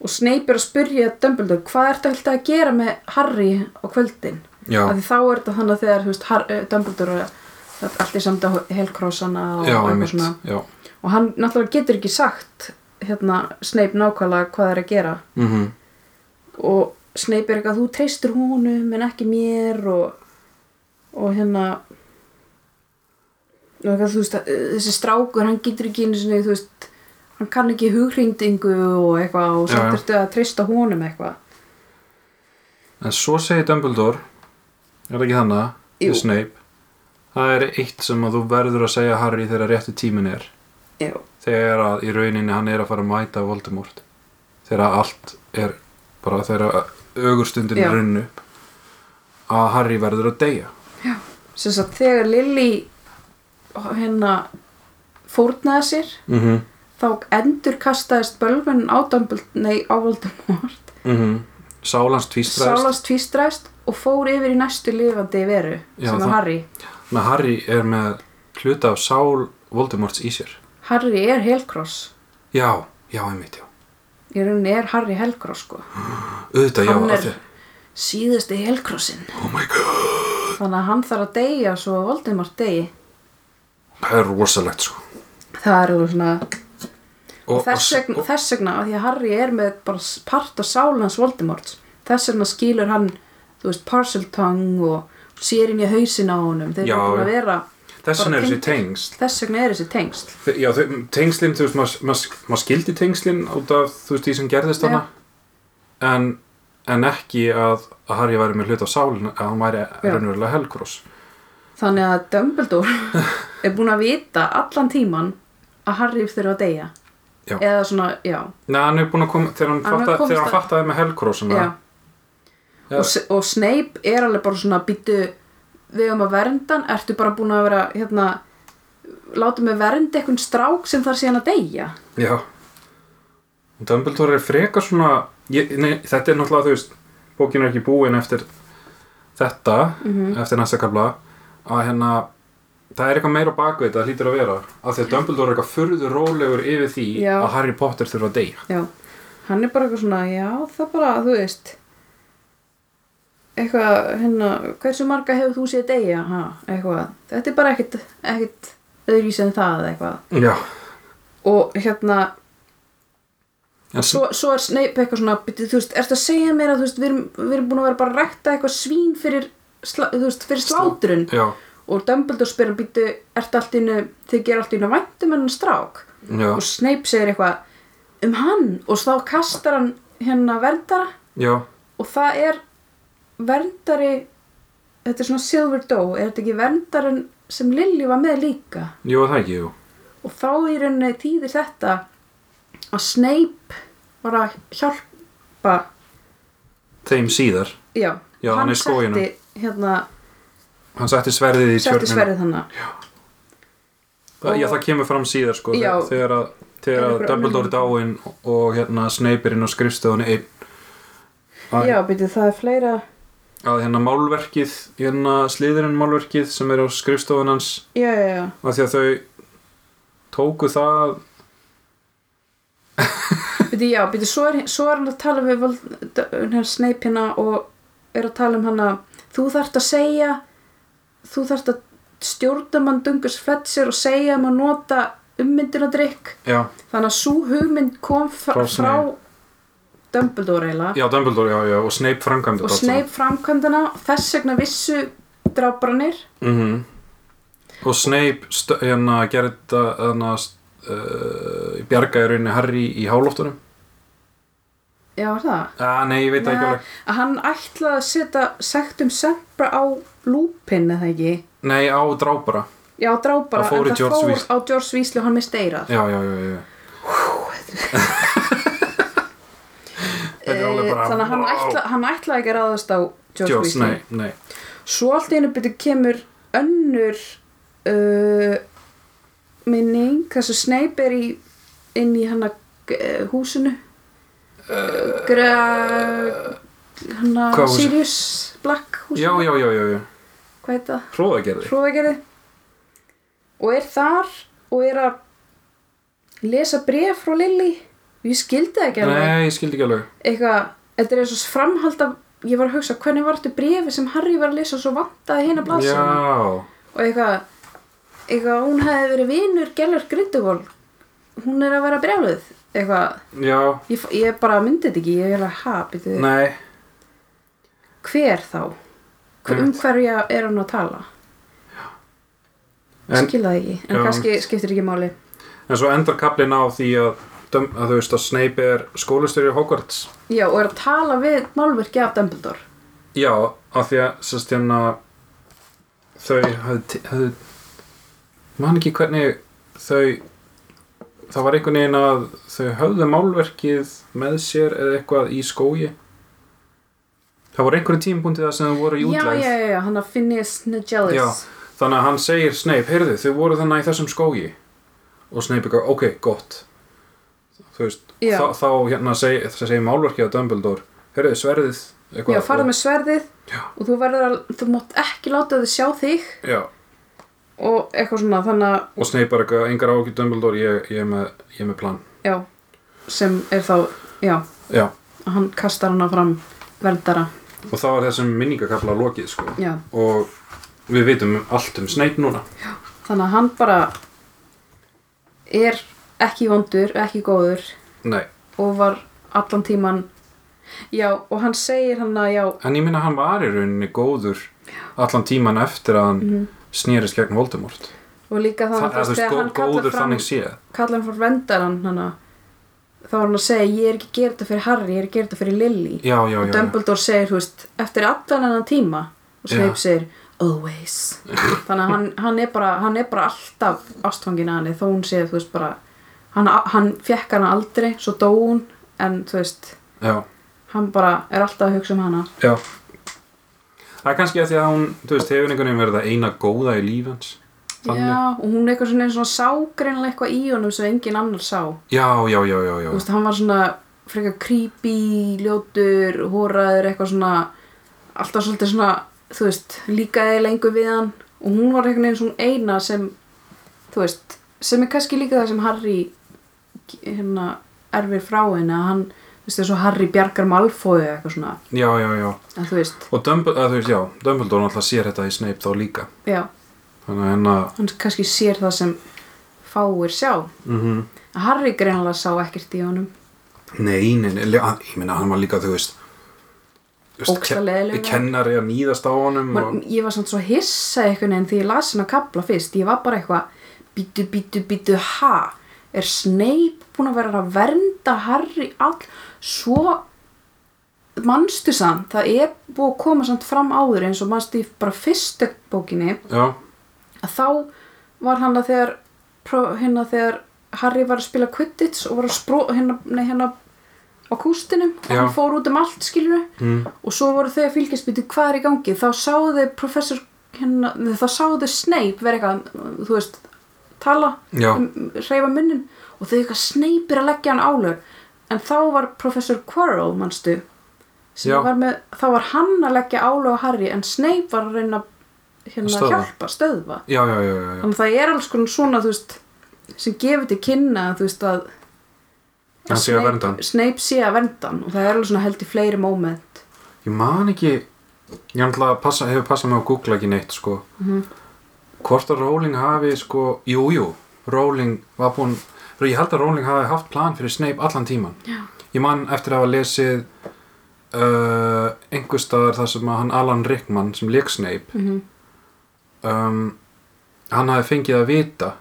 Speaker 1: og Snape er að spyrja Dumbledore hvað ertu alltaf að gera með Harry á kvöldin?
Speaker 2: já,
Speaker 1: Af því þá er þetta þannig að þegar þú veist, Har- eh, Dumbledore er að- allt í samt á helkrósana og
Speaker 2: já,
Speaker 1: eitthvað
Speaker 2: einmitt
Speaker 1: svona
Speaker 2: já,
Speaker 1: og hann náttúrulega getur ekki sagt hérna Snape nákvæmlega hvað það er að gera
Speaker 2: mm
Speaker 1: og Snape er eitthvað þú treystir honum en ekki mér og, og hérna og eitthvað þú veist að, uh, þessi strákur hann getur ekki einu sinni þú veist hann kann ekki hughrindingu og eitthvað og
Speaker 2: Já, já.
Speaker 1: samt ertu að treysta honum eitthvað
Speaker 2: en svo segir Dumbledore er það ekki þannig
Speaker 1: Jú.
Speaker 2: við Snape það er eitt sem að þú verður að segja Harry þegar réttu tímin er
Speaker 1: Já.
Speaker 2: þegar að í rauninni hann er að fara að mæta Voldemort þegar að allt er bara þegar augurstundin
Speaker 1: Já.
Speaker 2: er runnu að Harry verður að deyja
Speaker 1: sem sagt þegar Lily hérna fórnaði sér
Speaker 2: mhm mm
Speaker 1: þá endur kastaðist bölvun á, Dumbledore, nei, á Voldemort
Speaker 2: mm -hmm. Sálans tvístraðist
Speaker 1: sálast tvístræst og fór yfir í næstu lifandi veru
Speaker 2: Já,
Speaker 1: sem
Speaker 2: það-
Speaker 1: er Harry
Speaker 2: með Harry er með hluta af sál Voldemorts í sér
Speaker 1: Harry er helkross
Speaker 2: já, já, einmitt, já
Speaker 1: í rauninni er Harry Helgrós sko
Speaker 2: auðvitað, já,
Speaker 1: Hann
Speaker 2: af
Speaker 1: er-
Speaker 2: því
Speaker 1: síðusti Helgrósin
Speaker 2: oh my god,
Speaker 1: þannig að hann þarf að deyja svo að Voldemort deyji
Speaker 2: það er rosalegt sko
Speaker 1: það er alveg svona
Speaker 2: og,
Speaker 1: þess vegna,
Speaker 2: og,
Speaker 1: þess vegna að því að Harry er með bara s- part af sálans Voldemort þess vegna skýlur hann þú veist Parseltongue og sér inn í hausin á honum þeir
Speaker 2: Já,
Speaker 1: eru búin að
Speaker 2: já.
Speaker 1: vera
Speaker 2: þess
Speaker 1: bara
Speaker 2: vegna er þessi
Speaker 1: tengdir.
Speaker 2: tengsl
Speaker 1: þess vegna er þessi tengsl
Speaker 2: Þe- já, þau- tengslin, þú veist, maður mað, mað skildi tengslin út af, þú veist, því sem gerðist
Speaker 1: Já.
Speaker 2: hana en, en ekki að, að Harry væri með hluta af sálin að hann væri raunverulega helgrós
Speaker 1: þannig að Dumbledore er búin að vita allan tíman að Harry þurfa að deyja
Speaker 2: Já.
Speaker 1: eða svona, já
Speaker 2: Nei, hann er búin að koma, þegar hann,
Speaker 1: Hann er
Speaker 2: fatta,
Speaker 1: komist
Speaker 2: þegar hann
Speaker 1: að-
Speaker 2: fattaði með helgrósina
Speaker 1: Já. Og, S- og Snape er alveg bara svona býtu við um að verndan ertu bara búin að vera hérna láta mig vernda einhvern strák sem þar síðan að deyja
Speaker 2: Já Dumbledore er frekar svona ég, nei, þetta er náttúrulega þú veist bókin er ekki búin eftir þetta
Speaker 1: Mhm.
Speaker 2: eftir næsta kafla að hérna það er eitthvað meira á bakvið þetta hlýtur að vera af því að Dumbledore er eitthvað furðu rólegur yfir því
Speaker 1: Já.
Speaker 2: að Harry Potter þurfa að deyja
Speaker 1: Já, hann er bara eitthvað svona, já, það bara, þú veist, eitthvað, hérna, hversu marga hefur þú séð deyja, ha, eitthvað, þetta er bara ekkit, ekkit öðrís en það, eitthvað.
Speaker 2: Já,
Speaker 1: Og hérna,
Speaker 2: en svo
Speaker 1: svo, svo er Snape eitthvað svona, "Bíddu, þú veist, ertu að segja mér að, þú veist, við erum, við erum búin að vera bara að rækta eitthvað svín fyrir, sla, þú veist, fyrir slátrun.
Speaker 2: Já,
Speaker 1: Og Dumbledore spyr hann, býttu, ertu allt í einu, þið gerir allt í einu væntum en hann strák.
Speaker 2: já,
Speaker 1: Og Snape segir eitthvað um hann og þá kastar hann hérna verndara.
Speaker 2: já
Speaker 1: og það er verndari þetta er svona Silver Doe er þetta ekki verndarinn sem Lilju var með líka
Speaker 2: Jú, það ekki, jú
Speaker 1: og þá í rauninni týðir þetta að Snape var að hjálpa
Speaker 2: Þeim síðar,
Speaker 1: já,
Speaker 2: Já, hann er í skóginum.
Speaker 1: setti hérna,
Speaker 2: hann setti sverðið í
Speaker 1: setti
Speaker 2: tjörnina
Speaker 1: sverið þannig
Speaker 2: Það- Já, það kemur fram síðar sko
Speaker 1: Já.
Speaker 2: þegar- þegar að, þegar
Speaker 1: Er
Speaker 2: að
Speaker 1: einhver
Speaker 2: Dumbledore
Speaker 1: önnur-
Speaker 2: er dáinn og hérna Snape er inn á skrifstöðunni einn að,
Speaker 1: já, býttu, það er fleira
Speaker 2: að hérna málverkið hérna slíðurinn málverkið sem er á skrifstofun hans
Speaker 1: já, já, já,
Speaker 2: af því að þau tóku það
Speaker 1: býttu, já, býttu svo er, svo er hann að tala við Vold- D- hérna, Snape hérna og er að tala um hann að þú þarft að segja þú þarft að stjórna mann dungus Fletcher og segja um að nota ummyndunadrykk
Speaker 2: já,
Speaker 1: þannig að sú hugmynd kom frá,
Speaker 2: Frá
Speaker 1: frá
Speaker 2: Snape.
Speaker 1: Dumbledore eiginlega
Speaker 2: já Dumbledore já, já, og Snape framkvæmdi
Speaker 1: og Snape framkvæmdana þess vegna vissu drábranir
Speaker 2: mm og Snape stö- hérna gerði þetta hérna uh, bjargaði í rauninni Harry í hálóftunum
Speaker 1: já var það
Speaker 2: ah, nei, ég veit það ekki
Speaker 1: Nei,
Speaker 2: alveg
Speaker 1: að hann ætlaði að setja sektum sempra á lúpin eða ekki
Speaker 2: nei, á drápara
Speaker 1: já drábara
Speaker 2: Það fór
Speaker 1: en
Speaker 2: í
Speaker 1: það
Speaker 2: George
Speaker 1: fór
Speaker 2: Weasley.
Speaker 1: á George Weasley og hann misti eirað
Speaker 2: já, já, já, já, já. Þetta er alveg bara
Speaker 1: þannig að hann,
Speaker 2: vá.
Speaker 1: ætla, hann ætlaði ekki að ráðast á George,
Speaker 2: George,
Speaker 1: Weasley
Speaker 2: nei, nei
Speaker 1: Svo allt í einu byrju kemur önnur uh, minning þess að Snape er í, inn í hana uh, húsinu uh, Gra, hana
Speaker 2: Eh, Hvað húsi?
Speaker 1: Sirius Black
Speaker 2: já,
Speaker 1: húsinu
Speaker 2: já, já, já, já.
Speaker 1: hvað heit það?
Speaker 2: hróðagerði
Speaker 1: Hróðagerði og er þar og er að lesa bref frá Lilly og ég skildi það ekki alveg
Speaker 2: nei, ég skildi ekki alveg
Speaker 1: eitthvað, þetta er eins og framhald af ég var að hugsa hvernig var þetta brefi sem Harry var að lesa og svo vantaði hérna blasana
Speaker 2: já,
Speaker 1: og eitthvað, eitthvað hún hefði verið vinur Gellur Grindelwald hún er að vera brjáluð eitthvað,
Speaker 2: já,
Speaker 1: ég, f- ég bara myndi þetta ekki ég er að ha, byrju,
Speaker 2: nei
Speaker 1: hver þá hver, um
Speaker 2: Einmitt.
Speaker 1: hverja er hann að tala
Speaker 2: En-
Speaker 1: skil það ekki, en
Speaker 2: Já.
Speaker 1: kannski skiptir ekki máli
Speaker 2: En svo endar kaplinn á því að, Dum- að þú veist að Snape er skólastöri Hogwarts.
Speaker 1: já, og er að tala við málverki af Dumbledore
Speaker 2: Já, af því að sérst hérna þau höfðu, t- höfðu man ekki hvernig þau það var einhvern veginn að þau höfðu málverkið með sér eða eitthvað í skógi. Það voru einhverjum tímpúntið það sem þau voru í
Speaker 1: já,
Speaker 2: útlæð.
Speaker 1: já, já, já, hann að Phineas Nigelis
Speaker 2: Þannig að hann segir Snape, heyrðu, þau voru þannig í þessum skógi og Snape er ok, gott þú veist,
Speaker 1: Já.
Speaker 2: þá, þá hérna seg, það segir málverkið á Dumbledore heyrðu, sverðið, eitthvað
Speaker 1: já, farðu
Speaker 2: og,
Speaker 1: með sverðið
Speaker 2: Já.
Speaker 1: og þú verður að, þú mátt ekki láta þau sjá þig
Speaker 2: já,
Speaker 1: og eitthvað svona, þannig að
Speaker 2: og Snape er eitthvað, engar ágjur Dumbledore, ég, ég, er með, ég er með plan
Speaker 1: já, sem er þá já,
Speaker 2: já,
Speaker 1: að hann kastar hana fram verndara
Speaker 2: og þá er þessum minningakafla lokið, sko
Speaker 1: já.
Speaker 2: og við vitum allt um Snape núna
Speaker 1: þannig að hann bara er ekki vondur ekki góður
Speaker 2: nei,
Speaker 1: og var allan tíman já og hann segir hann að já
Speaker 2: en ég minna hann var í rauninni góður allan tíman eftir að hann
Speaker 1: Mhm.
Speaker 2: snýrist gegn Voldemort
Speaker 1: og líka
Speaker 2: það,
Speaker 1: þannig
Speaker 2: það,
Speaker 1: að
Speaker 2: það,
Speaker 1: þegar
Speaker 2: það,
Speaker 1: hann kallar
Speaker 2: góður
Speaker 1: fram
Speaker 2: þannig séð
Speaker 1: kallar hann frá verndaran hann þá var hann að segja ég er ekki að gera þetta fyrir Harry ég er að gera þetta fyrir Lily
Speaker 2: já, já, já,
Speaker 1: og
Speaker 2: já.
Speaker 1: Dumbledore segir, þú veist, eftir allan hennan tíma og Snape
Speaker 2: Já.
Speaker 1: segir, always þannig að hann, hann, er bara, hann er bara alltaf ástfangin að henni þó hún segir, þú veist, bara hann, hann fekk hana aldrei, svo dó hún en þú veist,
Speaker 2: Já,
Speaker 1: hann bara er alltaf að hugsa um hana
Speaker 2: já. Það er kannski að því að hún, þú veist, hefur einhvern veginn verið það eina góða í líf hans. Þannig.
Speaker 1: Já, og hún er eitthvað svona, svona ságreinlega eitthvað í honum sem engin annar sá
Speaker 2: Já, já, já, já, já.
Speaker 1: þú veist, hann var svona frekar creepy, ljótur, hóraður eitthvað svona, alltaf svolítið svona þú veist, líkaði lengur við hann og hún var einhvern veginn svona eina sem þú veist, sem er kannski líka það sem Harry hérna erfir frá henni að hann, þú veist, þessu Harry bjargar Malfoy eða eitthvað svona
Speaker 2: já, já, já.
Speaker 1: að þú veist,
Speaker 2: Og Dumbledore, þú veist, já, Dumbledore alltaf sér þetta í Snape þá líka.
Speaker 1: já,
Speaker 2: Þannig að hérna- hennar,
Speaker 1: hann kannski sér það sem fáir sjá
Speaker 2: mm -hmm.
Speaker 1: að Harry greinlega sá ekkert í honum
Speaker 2: nei, nei, nei, le- hann- ég minna, hann var líka, þú veist, þú veist,
Speaker 1: Ógeðslega leiðinlegur.
Speaker 2: kennari að nýðast á honum
Speaker 1: Man,
Speaker 2: og,
Speaker 1: ég var samt svo hissa einhvern veginn því ég las hennar kapla fyrst ég var bara eitthvað bítu, bítu, bítu, ha er Snape búin að vera að vernda Harry all svo manstu samt það er búið að koma samt fram áður eins og manstu í bara fyrstu bókinni
Speaker 2: já,
Speaker 1: að þá var hann að þegar pró- hérna þegar Harry var að spila Quidditch og var að spró hérna, nei, hérna á kústinum og
Speaker 2: Já.
Speaker 1: hann fór út um allt skilur
Speaker 2: mm,
Speaker 1: og svo voru þau að fylgjast býtu hvað er í gangi þá sáðu þau professor hérna, nei, þá sáðu þau Snape vera eitthvað þú veist, tala
Speaker 2: já,
Speaker 1: Um, reyfa munnin og þau eitthvað Snape er að leggja hann álög en þá var professor Quirrell manstu sem
Speaker 2: Já.
Speaker 1: var með, þá var hann að leggja álög á Harry en Snape var að reyna að hérna,
Speaker 2: Stöðva.
Speaker 1: hjálpa, stöðva
Speaker 2: já, já, já, já, já.
Speaker 1: þannig að það er alls konar svona þú veist, sem gefur til kynna þú veist að
Speaker 2: Hann sé að
Speaker 1: Snape-
Speaker 2: vernda hann.
Speaker 1: Snape sé að vernda hann og það er alveg svona held í fleiri moment
Speaker 2: Ég man ekki, ég ætla að passa, hefur passað mig að googla ekki neitt, sko.
Speaker 1: Mhm.
Speaker 2: Hvort að Rowling hafi, sko, jú, jú, Rowling var búin, ég held að Rowling hafi haft plan fyrir Snape allan tíman.
Speaker 1: Já.
Speaker 2: Ég man eftir að hafa lesið uh, einhver staðar þar sem að hann Alan Rickman, sem leik Snape,
Speaker 1: mm
Speaker 2: um, hann hafi fengið að vita,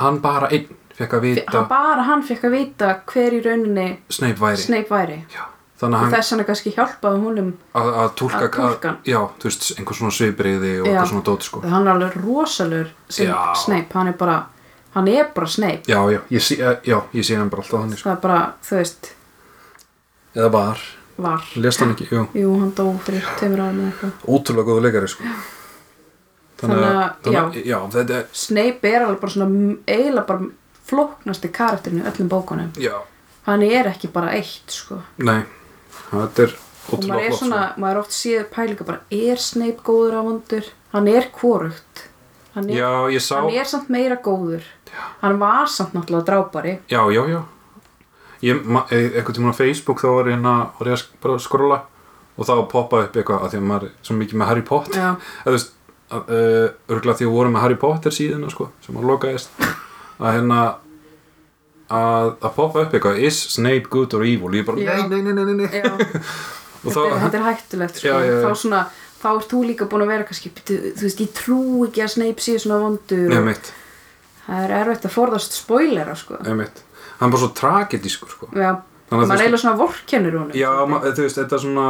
Speaker 2: hann bara einn fekk að vita
Speaker 1: hann bara hann fekk að vita hver í rauninni
Speaker 2: Snape væri.
Speaker 1: Snape væri
Speaker 2: Já, þannig
Speaker 1: og
Speaker 2: að hann
Speaker 1: þess hann kannski hjálpaði húnum
Speaker 2: að, að túlka,
Speaker 1: Að túlka hann.
Speaker 2: já, þú veist, einhver svona svibriði og
Speaker 1: Já.
Speaker 2: eitthvað svona dót, sko.
Speaker 1: það hann er alveg rosalur sem
Speaker 2: Já.
Speaker 1: Snape, hann er bara hann er bara Snape
Speaker 2: Já, já, ég sé, eh, já, ég sé hann bara alltaf þannig sko.
Speaker 1: það er bara, þú veist,
Speaker 2: Eða var,
Speaker 1: var
Speaker 2: lest hann ekki, jú
Speaker 1: jú, hann dó fyrir tveimur árum eða eitthvað
Speaker 2: Ótrúlega góðu leikari sko
Speaker 1: Þannig að-
Speaker 2: þannig, já, þetta er
Speaker 1: Snape er alveg bara svona m- eiginlega bara flóknasti karakterinu í öllum bókunum
Speaker 2: Já,
Speaker 1: hann er ekki bara eitt sko.
Speaker 2: nei, þetta er
Speaker 1: og maður
Speaker 2: ótrúlega
Speaker 1: er
Speaker 2: flott sko.
Speaker 1: svona, maður er oft síður pælinga bara, er Snape góður á vondur hann er korugt hann
Speaker 2: sko.
Speaker 1: er,
Speaker 2: Já, ég sá,
Speaker 1: hann er samt meira góður hann var samt náttúrulega drápari
Speaker 2: já, já, já Ég, ma, e- einhvern tímann á Facebook þá var ég hérna, var ég að sk- bara að skrolla og þá poppaði upp eitthvað að því að maður er svo mikið með Harry Potter
Speaker 1: já,
Speaker 2: eða þú veist uh, örgulega því að voru með Harry Potter síðuna sko, sem að lokaðist að hérna að, að poppa upp eitthvað is Snape good or evil ég bara
Speaker 1: Já.
Speaker 2: nei, nei, nei, nei, nei, nei.
Speaker 1: já.
Speaker 2: og
Speaker 1: þetta, er,
Speaker 2: þá,
Speaker 1: þetta er hættulegt sko.
Speaker 2: Já, já, já.
Speaker 1: þá svona þá ert þú líka búin að vera kannski "Bíddu, þú veist, ég trú ekki að Snape sé svona vondur
Speaker 2: nei
Speaker 1: og
Speaker 2: mitt,
Speaker 1: það er erfitt að forðast spoilera sko.
Speaker 2: nei mitt hann er bara svo tragedískur sko
Speaker 1: já,
Speaker 2: Þannig að
Speaker 1: maður
Speaker 2: þú
Speaker 1: eiginlega svona vorkennir honum
Speaker 2: já,
Speaker 1: svolítið.
Speaker 2: ma, eh, þú veist, þetta er svona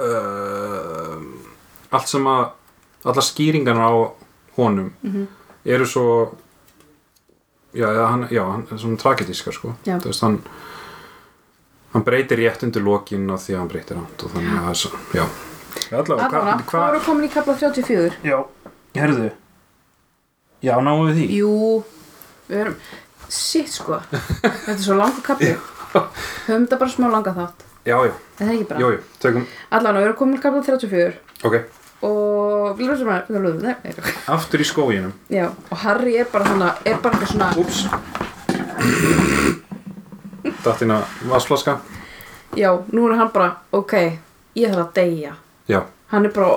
Speaker 2: uh, allt sem að allar skýringarna á honum
Speaker 1: Mhm.
Speaker 2: eru svo já, eða hann, já, hann er svona tragedískar sko
Speaker 1: Já.
Speaker 2: þú veist, hann hann breytir rétt undir lokin af því að hann breytir hann og þannig að það er svo, já
Speaker 1: allavega,
Speaker 2: Allavega,
Speaker 1: hvað voru komin í kapla 34?
Speaker 2: Já, herðu Já, náum við því
Speaker 1: Jú, við erum Sitt sko, þetta er svo langur kappi Höfum þetta bara smá langa þátt
Speaker 2: Já, já,
Speaker 1: Er Það er ekki bara
Speaker 2: jú, jú, tökum,
Speaker 1: Allan, við erum komin í kapla 34
Speaker 2: ok
Speaker 1: Og við erum svona Nei, nei,
Speaker 2: Aftur í skóginum,
Speaker 1: Já, og Harry er bara hana Er bara eitthvað svona
Speaker 2: úps Dattina vasflaska
Speaker 1: Já, nú er hann bara, ok Ég þarf að deyja
Speaker 2: Já,
Speaker 1: Hann er bara,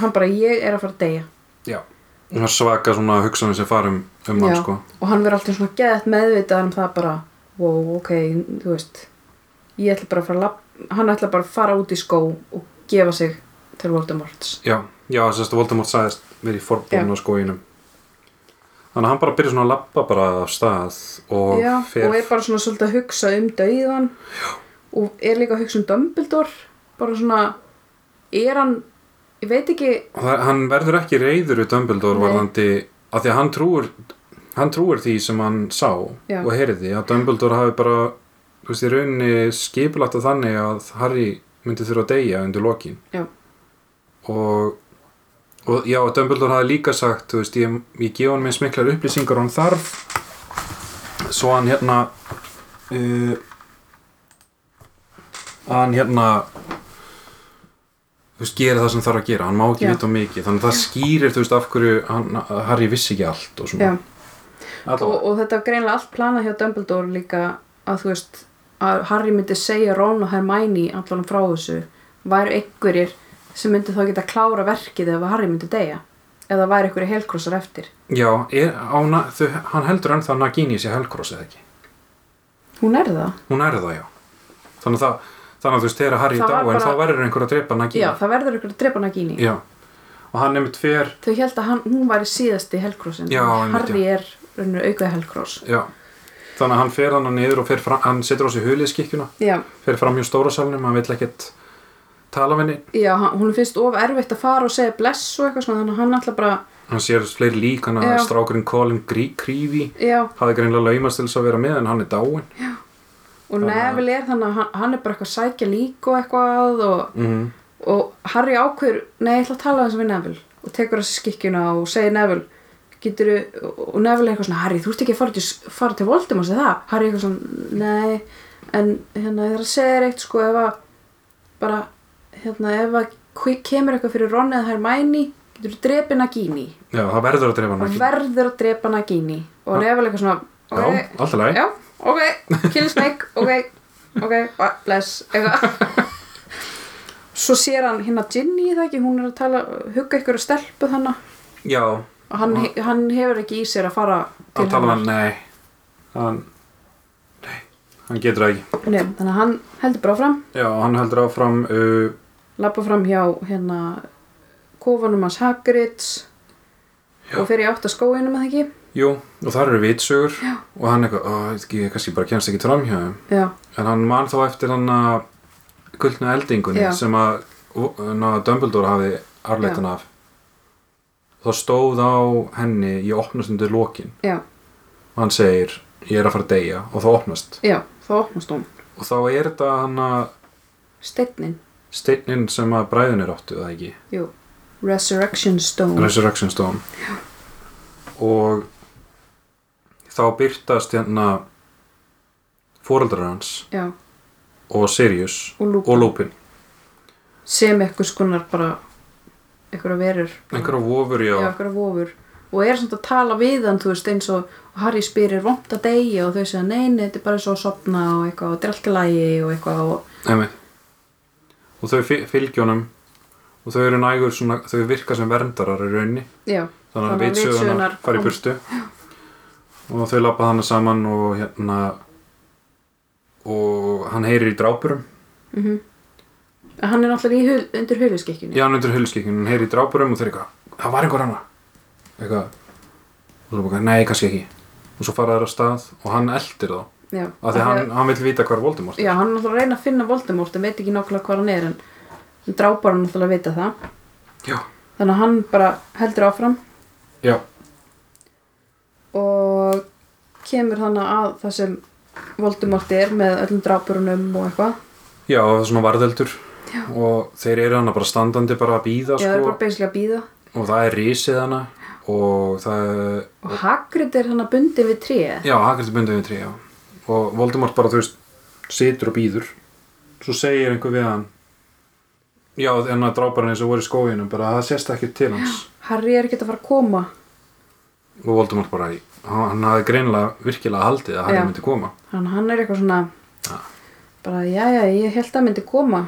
Speaker 1: hann bara, ég er að fara að deyja
Speaker 2: já Hún var svaka svona hugsanum sem farum um hann
Speaker 1: Já,
Speaker 2: sko
Speaker 1: Og hann verður alltaf svona geðett meðvitað um það bara, wow, ok, þú veist Ég ætla bara að fara að lapp Hann ætla bara að fara út í skó og gefa sig til Voldemorts
Speaker 2: Já, já, þess að Voldemort sagðist verið forbúin
Speaker 1: Já.
Speaker 2: á skóginum Þannig að hann bara byrja svona að labba bara af stað og
Speaker 1: Já,
Speaker 2: fer
Speaker 1: og er bara svona svolítið að hugsa um dauðan Já. og er líka að hugsa um Dumbledore bara svona er hann, ég veit ekki
Speaker 2: Og það- hann verður ekki reyður við Dumbledore
Speaker 1: Nei.
Speaker 2: varðandi af því að hann trúir hann trúir því sem hann sá
Speaker 1: Já.
Speaker 2: og heyrði að Dumbledore hafi bara þú veist, í rauninni skipulagt að þannig að Harry myndi þurfa að deyja undir lokin
Speaker 1: Já.
Speaker 2: og, og já, Dumbledore hafi líka sagt þú veist, ég, ég gef hann mér smiklar upplýsingar og hann þarf svo hann hérna uh, hann hérna þú veist, gera það sem þarf að gera hann má ekki
Speaker 1: Já.
Speaker 2: vita of mikið þannig að það skýrir þú veist af hverju hann, Harry vissi ekki allt og
Speaker 1: já.
Speaker 2: svona
Speaker 1: Og,
Speaker 2: Alla,
Speaker 1: og þetta var greinlega allt planað hjá Dumbledore líka að þú veist að Harry myndi segja Ron og Hermione allan frá þessu væru einhverjir sem myndi þá geta klára verkið ef að Harry myndi deyja eða væri einhverjir helkrossar eftir
Speaker 2: já, er, á, na- þau, hann heldur ennþá Nagini sé helkross eða ekki
Speaker 1: hún er það
Speaker 2: hún er það já þannig að, það, þannig að þú veist þegar Harry
Speaker 1: Það
Speaker 2: er
Speaker 1: var
Speaker 2: dáin
Speaker 1: bara-
Speaker 2: þá verður einhver að drepa Nagini
Speaker 1: já, það verður einhverjir að drepa Nagini
Speaker 2: Já. og hann nefnt fer
Speaker 1: þau held að hann, hún væri síðasti helkrossin
Speaker 2: Já, einmitt,
Speaker 1: Harry er rauninu aukað helkross
Speaker 2: já. þannig að hann fer hann niður og fer fram, hann setur á sig huliðskikkjuna
Speaker 1: já,
Speaker 2: fer fram hjá stóra salnum, hann vill ekkert tala við henni,
Speaker 1: já, hann- hún finnst of erfitt að fara og segja bless og eitthvað svona þannig að hann alltaf bara,
Speaker 2: hann sér fleiri lík hann
Speaker 1: Já.
Speaker 2: að strákurinn Colin Creevy
Speaker 1: já
Speaker 2: hafði greinlega laumast til þess að vera með en hann er dáin
Speaker 1: og
Speaker 2: Þannig að-
Speaker 1: Neville er þannig að hann, hann er bara eitthvað að sækja lík og eitthvað og
Speaker 2: mm.
Speaker 1: og Harry ákveður, nei, ég ætla að tala þess við Neville og tekur þessi skikkjuna og segir Neville getur, og Neville er eitthvað svona Harry, þú ert ekki að fara til, fara til Voldemort eða það, Harry er eitthvað svona, nei en hérna, ég þarf að segja þér eitt sko ef að, bara hérna, ef að hve- kemur eitthvað fyrir Ron eða Hermione, getur þú drepið Nagini
Speaker 2: já, það verður að drefa hann
Speaker 1: og
Speaker 2: ekki
Speaker 1: verður að drepa Nagini og
Speaker 2: Ha?
Speaker 1: Neville er eitthvað svona,
Speaker 2: já,
Speaker 1: ok,
Speaker 2: alltaf leið
Speaker 1: já, ok kill snake, ok, ok ba- bless, eitthvað svo sér hann hérna Ginny það ekki, hún er að tala, hugga ykkur að stelpu þannig
Speaker 2: já,
Speaker 1: og hann, he- hann hefur ekki í sér að um fara til
Speaker 2: hann tala hann, nei hann, nei, hann getur það ekki
Speaker 1: Nei, þannig að hann heldur bara fram
Speaker 2: já, og hann heldur áfram uh,
Speaker 1: lappa fram hjá hérna kofanum hans Hagrids
Speaker 2: Já.
Speaker 1: og fer í átt að skóinum að ekki
Speaker 2: jú, og þar eru vitsögur já. og hann eitthvað, ó, ég veit ekki, ég kannski bara kemst ekki fram hjá þeim
Speaker 1: já,
Speaker 2: En hann man þá eftir hann að gullna eldingunni
Speaker 1: Já.
Speaker 2: sem að na, Dumbledore hafi arleitan af. Þá stóð á henni í opnastundu lokin
Speaker 1: já,
Speaker 2: og hann segir ég er að fara að deyja og þá opnast.
Speaker 1: já þá opnast hún,
Speaker 2: Og þá er þetta hann að
Speaker 1: steinin
Speaker 2: steinnin sem að bræðunir áttu, það ekki?
Speaker 1: jú, Resurrection Stone
Speaker 2: Resurrection Stone. Og þá byrtast hérna fóreldrar hans
Speaker 1: já,
Speaker 2: og Sirius
Speaker 1: og lúpa
Speaker 2: og Lúpin.
Speaker 1: sem eitthvað skonar bara eitthvað verur
Speaker 2: Einhverja vofur,
Speaker 1: já,
Speaker 2: já.
Speaker 1: eitthvað vofur og er samt að tala við hann þú veist eins og og Harry spyrir vont að deyja og þau segja neini, þetta er bara svo að sopna og eitthvað og þetta er allt í lægi og eitthvað og
Speaker 2: Emi. Og þau fy- fylgja honum og þau eru nægur svona, þau virka sem verndarar í raunni
Speaker 1: já,
Speaker 2: þannig að
Speaker 1: Þannig að
Speaker 2: vitsöðunar
Speaker 1: vitsögurnar
Speaker 2: fara í
Speaker 1: kom-
Speaker 2: burtu og þau lappa þannig saman og hérna og hann heyrir í drápurum
Speaker 1: En hann er náttúrulega í hul, undir huliskekkjunni
Speaker 2: já, hann undir hulskikkinu, hann heyrir í drápurum og þau er eitthvað, það var einhver annar eitthvað, og þú er bara, nei, kannski ekki og svo fara þær af stað og hann eldir þá,
Speaker 1: já,
Speaker 2: af því að hann, hann vil vita hvar Voldemort er
Speaker 1: já, hann er náttúrulega að reyna að finna Voldemort en veit ekki nákvæmlega hvað hann er en, en drápar hann náttúrulega að vita það
Speaker 2: já,
Speaker 1: þannig að hann bara heldur áfram
Speaker 2: já,
Speaker 1: og kemur þannig að það sem Voldemort er með öllum drápurunum og eitthvað
Speaker 2: já og það er svona varðeldur já. og þeir eru hann bara standandi bara að býða
Speaker 1: Já, það er bara beinslega að býða
Speaker 2: og það er risið hana og það er
Speaker 1: Og Hagrid er hann að bundi við tríð
Speaker 2: já, Hagrid er bundið við trí já. og Voldemort bara, þú veist, situr og býður svo segir einhver við hann já, en að dráparinn eins og voru í skóginum bara það sést ekki til hans
Speaker 1: Harry er ekki að fara að koma
Speaker 2: og Voldemort bara, hann hann hafði greinilega virkilega haldið að
Speaker 1: Já.
Speaker 2: hann myndi koma
Speaker 1: Hann, hann er eitthvað svona
Speaker 2: Ja.
Speaker 1: Bara, já, já, ég held að hann myndi koma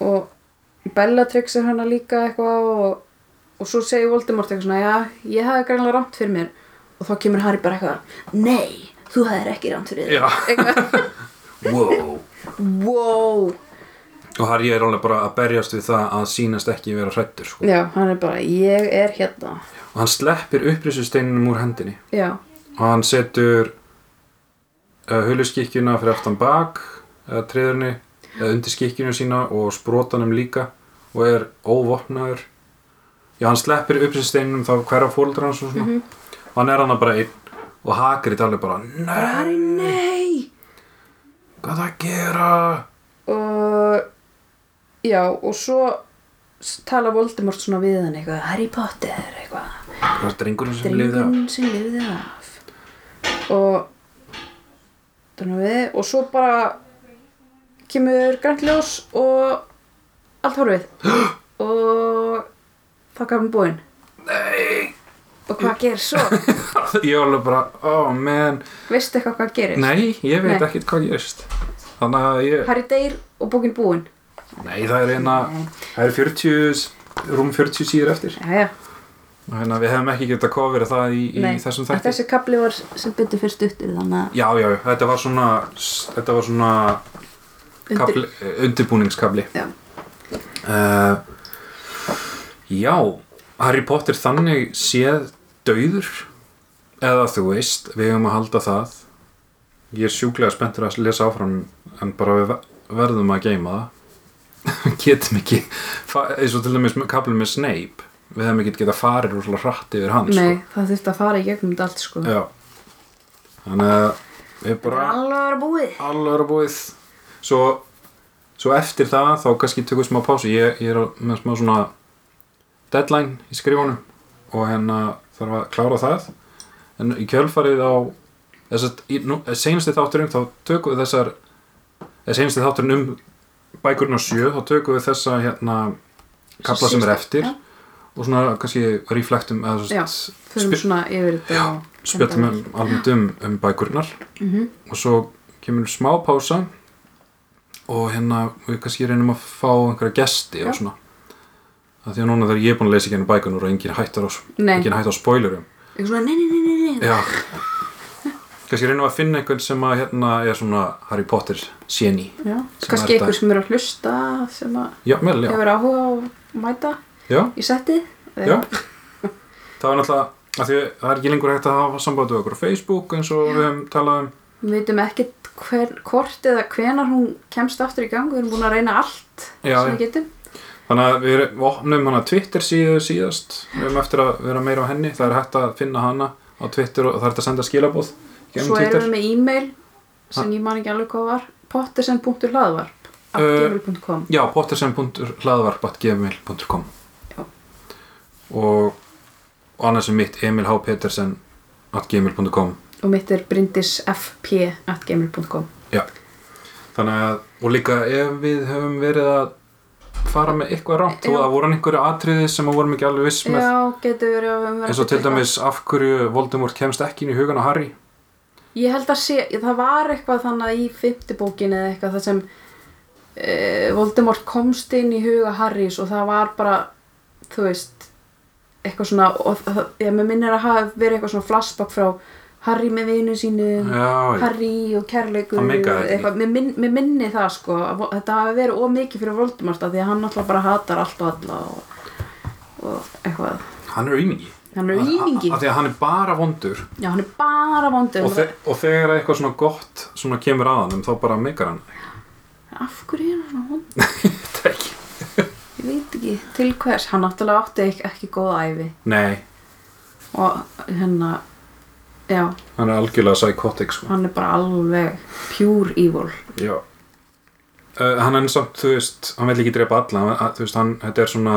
Speaker 1: Og Bellatrix er hann að líka eitthvað og, og svo segir Voldemort eitthvað svona Já, ég hafði greinlega rámt fyrir mér Og þá kemur Harry bara eitthvað Nei, þú hafðir ekki rámt fyrir
Speaker 2: já,
Speaker 1: þér Eitthvað,
Speaker 2: wow
Speaker 1: wow
Speaker 2: og Harry er alveg bara að berjast við það að sýnast ekki vera hrættur sko.
Speaker 1: Já, hann er bara, ég er hérna
Speaker 2: og hann sleppir upprissusteininum úr hendinni
Speaker 1: Já,
Speaker 2: og hann setur uh, huluskikkjuna fyrir aftan bak uh, treðurni uh, undir skikkjunu sína og sprótanum líka og er óvopnaður já hann sleppir upp sér steinum þá hverja fóldra hans og svona
Speaker 1: Mhm.
Speaker 2: og hann er hann bara einn og Hagrid alveg bara
Speaker 1: Harry,
Speaker 2: nei,
Speaker 1: nei
Speaker 2: hvað það gera
Speaker 1: og já, og svo s- tala Voldemort svona við hann eitthvað Harry Potter eitthvað
Speaker 2: hvað er drengurinn sem lifði af
Speaker 1: drengurinn sem lifði af og þannig að við og svo bara kemur grænt ljós og allt horfið og þá gaf hann búinn og hvað gerir svo?
Speaker 2: Ég var alveg bara, oh man
Speaker 1: veistu eitthvað hvað gerir?
Speaker 2: Nei, ég veit
Speaker 1: Nei.
Speaker 2: ekkert hvað gerist Þannig að ég,
Speaker 1: Harry deyr og bókin búinn
Speaker 2: nei það er eina
Speaker 1: Nei.
Speaker 2: Það er 40, rúm 40 síður eftir
Speaker 1: Jæja,
Speaker 2: Þannig að við hefum ekki getað kofir það í, í
Speaker 1: nei.
Speaker 2: þessum
Speaker 1: En
Speaker 2: þætti
Speaker 1: þessi kapli var sem byrju fyrir stuttur þannig
Speaker 2: Já, já, já, þetta var svona Þetta var svona eh,
Speaker 1: að undir-
Speaker 2: kapli, undirbúningskabli
Speaker 1: Já.
Speaker 2: Eh, já, Harry Potter þannig séð dauður eða þú veist, við höfum að halda það ég er sjúklega spenntur að lesa áfram en bara við ver- verðum að geima það getum ekki fa- eins og til dæmis með kaplum með Snape við hefum ekki getað farið úr hratt yfir hann
Speaker 1: Nei, það þurfti að fara í gegnum þetta allt sko
Speaker 2: sko. já þannig að við bara
Speaker 1: Alveg að vera búið
Speaker 2: alveg að búið svo, svo eftir það þá kannski tökum við smá pásu ég, ég er á- með smá svona deadline í skrifunum og hérna þarf að klára það en í kjölfarið á þess að í- nú- eh, seinasti þátturinn þá tökum við þessar eða seinasti þátturinn um bækurinn á sjö þá tökum við þessa hérna kapla sem er
Speaker 1: Síðasta,
Speaker 2: eftir
Speaker 1: já.
Speaker 2: og svona kannski reflektum eða
Speaker 1: Já,
Speaker 2: svona
Speaker 1: Fyrir
Speaker 2: Spjö-
Speaker 1: svona yfir þetta og-
Speaker 2: spjöldum um, almennt um, um bækurnar
Speaker 1: Mhm.
Speaker 2: og svo kemur smá pása og hérna við kannski reynum að fá einhverja gesti og
Speaker 1: Já.
Speaker 2: svona að því að núna þegar ég er búin að lesa ekki henni bækunar og engin hættar á,
Speaker 1: Nei,
Speaker 2: engin hættar á spoilerum
Speaker 1: eitthvað svona nei, nei, nei, nei, nei.
Speaker 2: já kannski reynum að finna einhvern sem að hérna er svona Harry Potter séni
Speaker 1: Já,
Speaker 2: Sem
Speaker 1: kannski
Speaker 2: er þetta-
Speaker 1: einhver sem er að hlusta sem að
Speaker 2: já, vel, já,
Speaker 1: hefur áhuga á að mæta
Speaker 2: já,
Speaker 1: í settið
Speaker 2: já það er náttúrulega að því að það er ekki lengur hægt að hafa samband við okkur á Facebook eins og við höfum talað um
Speaker 1: Við veitum ekkert hver, hvort eða hvenar hún kemst aftur í gang Við erum búin að reyna allt
Speaker 2: Já,
Speaker 1: sem
Speaker 2: já.
Speaker 1: við getum
Speaker 2: Þannig að við erum- við opnum hana Twitter síðu síðast, við erum eftir að vera meira á henni, það er hægt að finna hana á Twitter og það er hægt að senda skilabóð gegnum
Speaker 1: Svo
Speaker 2: Twitter.
Speaker 1: erum við með e-mail sem ég man ekki alveg hvað var pottersen.hlaðvarp
Speaker 2: Eh.
Speaker 1: uh,
Speaker 2: Já, pottersen.hlaðvarp.gmail.com
Speaker 1: Já.
Speaker 2: og, og annars er mitt emilhpetersen.gmail.com
Speaker 1: og mitt er brindisfp.gmail.com
Speaker 2: Já, þannig að, og líka ef við höfum verið að fara með eitthvað rátt og
Speaker 1: Já.
Speaker 2: það voru hann einhverju atriði sem við vorum ekki alveg viss með
Speaker 1: Já, getur verið að við höfum verið að
Speaker 2: eins og til
Speaker 1: bylla eitthvað.
Speaker 2: dæmis af hverju Voldemort kemst ekki inn í hugan á Harry
Speaker 1: Ég held að sé, það var eitthvað þannig að í fymtibókinni eða eitthvað það sem e, Voldemort komst inn í huga Harrys og það var bara, þú veist, eitthvað svona, og það, ég með minnir að hafa verið eitthvað svona flashback frá Harry með vinu sínu,
Speaker 2: Já, já.
Speaker 1: Harry og kærleikur,
Speaker 2: Það meikaði ekki.
Speaker 1: eitthvað, mér, minn, mér minni það sko, að vo- þetta hafi verið ómikið fyrir Voldemort að því að hann náttúrulega bara hatar allt og alla og, og eitthvað,
Speaker 2: hann er rýmingi
Speaker 1: hann er rýmingi,
Speaker 2: af því að hann er bara vondur
Speaker 1: já hann er bara vondur, um
Speaker 2: og, þe og þegar eitthvað svona gott svona kemur að hann þá bara meikar hann
Speaker 1: af hverju er hann svona vondur?
Speaker 2: Þetta er ekki-
Speaker 1: Ég veit ekki til hvers, hann náttúrulega átti ekki, ekki góða æfi
Speaker 2: nei,
Speaker 1: og hérna, já,
Speaker 2: hann er algjörlega psychotic sko.
Speaker 1: hann er bara alveg pure evil.
Speaker 2: já uh, hann er samt, þú veist, hann vil ekki drepa alla hann, að, þú veist, hann, þetta er svona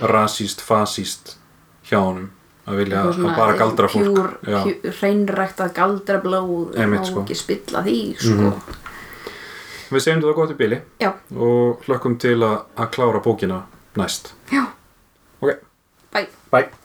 Speaker 2: rasíst, fasíst hjá honum að vilja
Speaker 1: Eitthvað
Speaker 2: að bara galdra fólk
Speaker 1: Pure,
Speaker 2: Já.
Speaker 1: pure hreinrækt að galdra blóð
Speaker 2: Einmitt,
Speaker 1: og
Speaker 2: sko. Mhm.
Speaker 1: ekki spilla því, sko.
Speaker 2: við segjum þetta gott í bili
Speaker 1: Já,
Speaker 2: og hlökkum til að, að klára bókina næst
Speaker 1: já,
Speaker 2: ok,
Speaker 1: bæ.
Speaker 2: bye